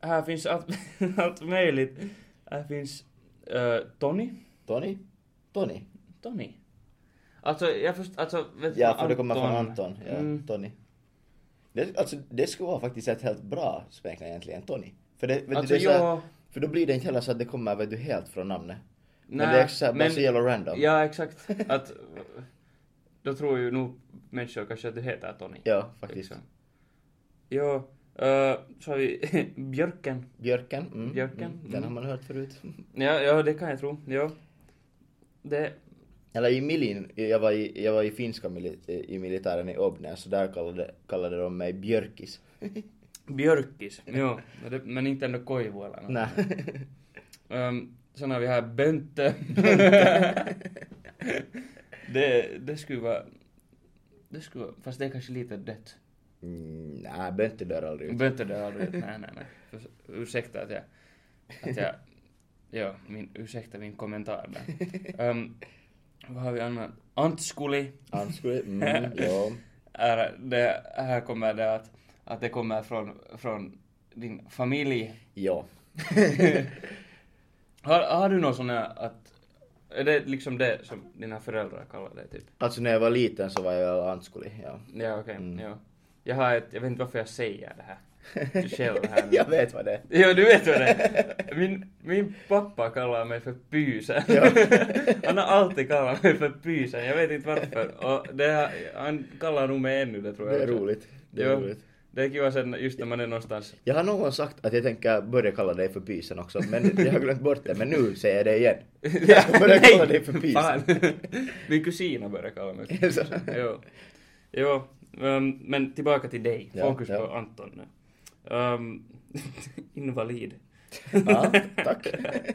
C: här finns allt, allt möjligt. Här finns eh, Tony.
B: Tony? Tony?
C: Tony. Alltså, jag förstår... Alltså, vet
B: Ja,
C: du,
B: för det kommer från Anton. Ja,
C: Mm.
B: Tony. Det, alltså, det skulle vara faktiskt ett helt bra smeknamn egentligen, Tony. För, det, vet
C: Alltså,
B: du, det är så här-
C: ja.
B: för då blir det inte heller så att det kommer vet du, helt från namnet. men
C: Nej,
B: det är så här, bara
C: men-
B: så jävla random.
C: Ja, exakt. Att, då tror ju nog människor kanske att du heter Tony.
B: Ja, faktiskt.
C: Liksom. Jo, eh, så har vi björken.
B: Björken. Mm.
C: Björken,
B: Mm. Den
C: mm.
B: har man hört förut.
C: Ja, ja, det kan jag tro. Ja. Det...
B: Eller i milin, jag var i, jag var i finska mili, i militären i Obnäs så där kallade, kallade de mig björkis.
C: Björkis. Jo, men det- men inte ändå koivu eller något.
B: Nej.
C: Um, sen har vi här Bönte. det, det skulle vara... Det skulle vara... Fast det är kanske lite dött.
B: Mm, nej, Bente dör aldrig ut.
C: Bönte dör aldrig. Nej, nej, nej. Förs- Ursäkta att jag... Att jag ja, min, ursäkta min kommentar där. Ehm, vad har vi annat? Antskuli.
B: Anskri, mm, ja.
C: är det, här kommer det att, att det kommer från, från din familj.
B: Ja.
C: Har, har du någon sån här att, är det liksom det som dina föräldrar kallar det typ?
B: Alltså när jag var liten så var jag Anskuli, ja. Mm.
C: Ja okej, ja. Jag har ett, jag vet inte varför jag säger det här. du själv här nu.
B: jag vet vad det är.
C: Jo, du vet vad det är. Min, min pappa kallar mig för pysen.
B: Ja.
C: Han har alltid kallat mig för pysen, jag vet inte varför. Och det, har- han kallar nog mig ännu det tror jag.
B: Det är
C: också.
B: roligt. Det är
C: Jo.
B: roligt.
C: Det är kiva sen just när man är någonstans.
B: Jag har någon gång sagt att jag tänker börja kalla dig för pysen också, men jag har glömt bort det. Men nu säger jag det igen. Jag ska börja
C: Nej,
B: kalla dig för
C: fan.
B: pysen.
C: Min kusin har börjat kalla mig
B: Är det så?
C: pysen. jo. jo. ehm, men tillbaka till dig.
B: Ja,
C: Fokus
B: ja.
C: på Anton nu. Ehm, invalid.
B: Ja, tack.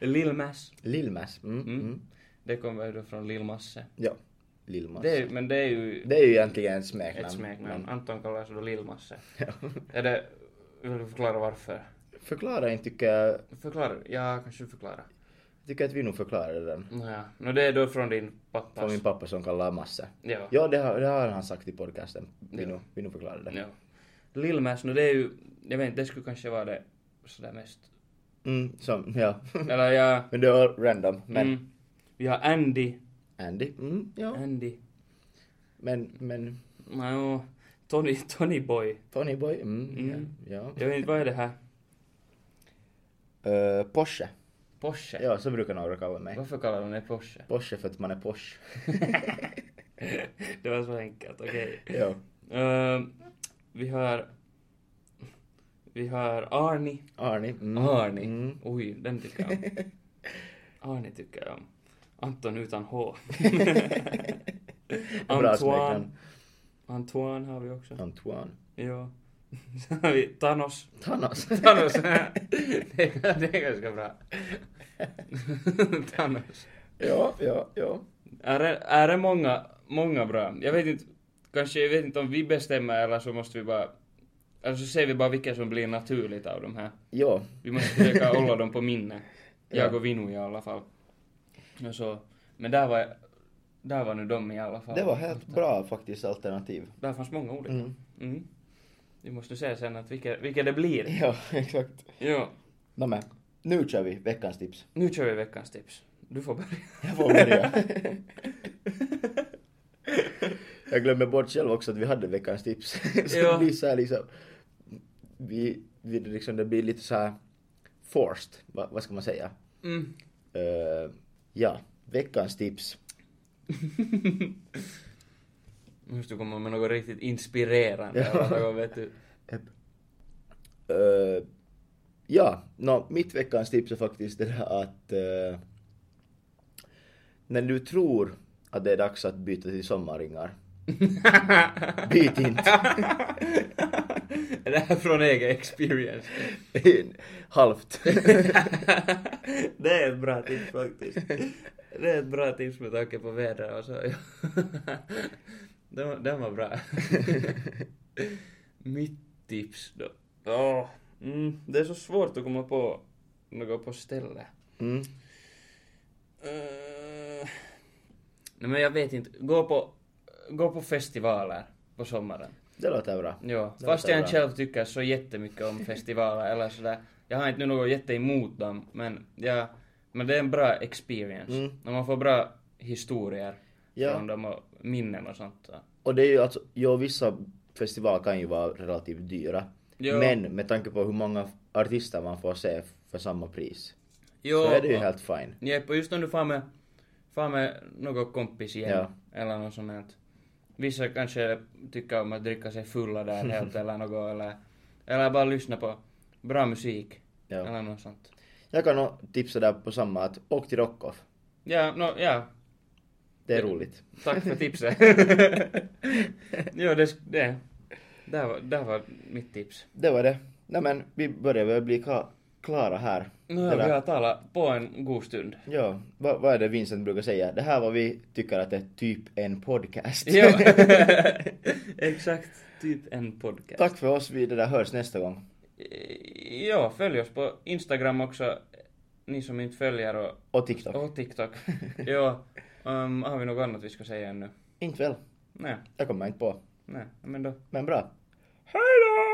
C: Lillmass.
B: Lillmäss. Mm,
C: Mm.
B: mm.
C: Det kommer ju då från Lillmasse.
B: Ja. Lillmass.
C: Det är, men det är ju
B: Det är ju egentligen ett smeknamn.
C: ett smeknamn.
B: men-
C: Anton kallas då Lillmasse. är det, vill du förklara varför?
B: Förklara inte tycker jag.
C: Förklara. Ja, kanske du förklarar.
B: Tycker att vi nog förklarade den.
C: Nåja. Nå det är då från din pappas...
B: Från min pappa som kallar massa.
C: Ja.
B: Ja, det har, det har han sagt i podcasten. Vi
C: Ja.
B: nog, vi nog förklarade det.
C: Ja. Lillmäss, no det är ju, jag vet inte, det skulle kanske vara det sådär mest.
B: Mm, som, ja.
C: Eller ja,
B: men det var random. Men
C: mm, vi har Andy,
B: Andy. Mm, ja.
C: Andy,
B: Men, men
C: no, Tony, Tony Boy.
B: Tony Boy. Mm,
C: Mm.
B: Ja. ja.
C: Jag vet inte, vad är det här?
B: Ö, Eh, Porsche.
C: Porsche?
B: Ja, så brukar några kalla mig.
C: Varför kallar de det Porsche?
B: Porsche för att man är Porsche.
C: det var så enkelt, okej.
B: ja.
C: Ehm, vi har, vi har Arni.
B: Arni. Mm.
C: Arni?
B: Mm.
C: Oj, den tycker jag om. Arni tycker jag om. Anton utan H.
B: Bra
C: Antoine.
B: smeknamn.
C: Antoine har vi också.
B: Antoine.
C: Ja. Sen har vi Thanos.
B: Thanos.
C: Thanos. det, är, det är ganska bra. Thanos.
B: ja, ja, ja.
C: Är det, är det många, många bra? Jag vet inte, kanske jag vet inte om vi bestämmer eller så måste vi bara, eller så ser vi bara vilka som blir naturligt av de här.
B: Ja.
C: Vi måste försöka hålla dem på minne. Jag
B: Ja.
C: och Vinu i alla fall. Och så. Men där var, där var nu de i alla fall.
B: Det var helt bra faktiskt alternativ.
C: Där fanns många olika.
B: Mm.
C: Mm. Vi måste se sen att vilka, vilka det blir.
B: Ja, exakt.
C: Ja.
B: Nå men, nu kör vi veckans tips.
C: Nu kör vi veckans tips. Du får börja.
B: Jag får börja. jag glömmer bort själv också att vi hade veckans tips. så
C: Ja.
B: det blir så här liksom, vi, vi liksom, det blir lite så här forced, Va, vad ska man säga?
C: Mm.
B: Eh, ja, veckans tips.
C: Nu måste du komma med något riktigt inspirerande. Eller något, vet du.
B: Eh, ja, nå mitt veckans tips är faktiskt det där att eh, när du tror att det är dags att byta till sommarringar, byt inte.
C: Är det här från egen experience?
B: Halvt.
C: det är ett bra tips faktiskt. Det är ett bra tips med tanke på vädret och så. den, var- den var bra. Mitt tips då? Ja, mm, det är så svårt att komma på något på stället.
B: Mm.
C: Eh, Nej men jag vet inte, gå på, gå på festivaler på sommaren.
B: Det låter bra.
C: Ja,
B: Det
C: fast
B: låter
C: jag inte
B: bra.
C: själv tycker så jättemycket om festivaler eller sådär. Jag har inte nu något jätte emot dem, men, ja, men det är en bra experience.
B: Mm.
C: Och man får bra historier
B: Ja.
C: från dem och minnen och sånt. ja.
B: Och det är ju alltså, ja vissa festivaler kan ju vara relativt dyra.
C: Ja.
B: Men med tanke på hur många artister man får se för samma pris.
C: Jo,
B: Så är det ju
C: och-
B: helt fine.
C: Jep, och just om du far med, far med något kompisgäng
B: Ja.
C: eller något sånt här. Vissa kanske tycker om att dricka sig fulla där helt eller något eller, eller bara lyssna på bra musik
B: Ja.
C: eller något sånt.
B: Jag kan nog tipsa där på samma att åk till Rockoff.
C: Ja, no, ja,
B: Det är
C: Ja.
B: roligt.
C: tack för tipset. jo, det, det. Där, var, där var mitt tips.
B: Det var det. Nej men vi börjar väl bli ka- klara här.
C: Nu
B: Det
C: har
B: där-
C: vi har talat på en god stund.
B: Ja, vad vad är det Vincent brukar säga? Det här var vi tycker att det är typ en podcast.
C: Jo, exakt typ en podcast.
B: Tack för oss, vi det där hörs nästa gång.
C: Eh, Ja, följ oss på Instagram också, ni som inte följer och,
B: Och TikTok.
C: och TikTok. ja, um, har vi något annat vi ska säga ännu?
B: Inte väl.
C: Nej,
B: Jag kommer inte på.
C: nej, men då.
B: Men bra.
C: Hej då!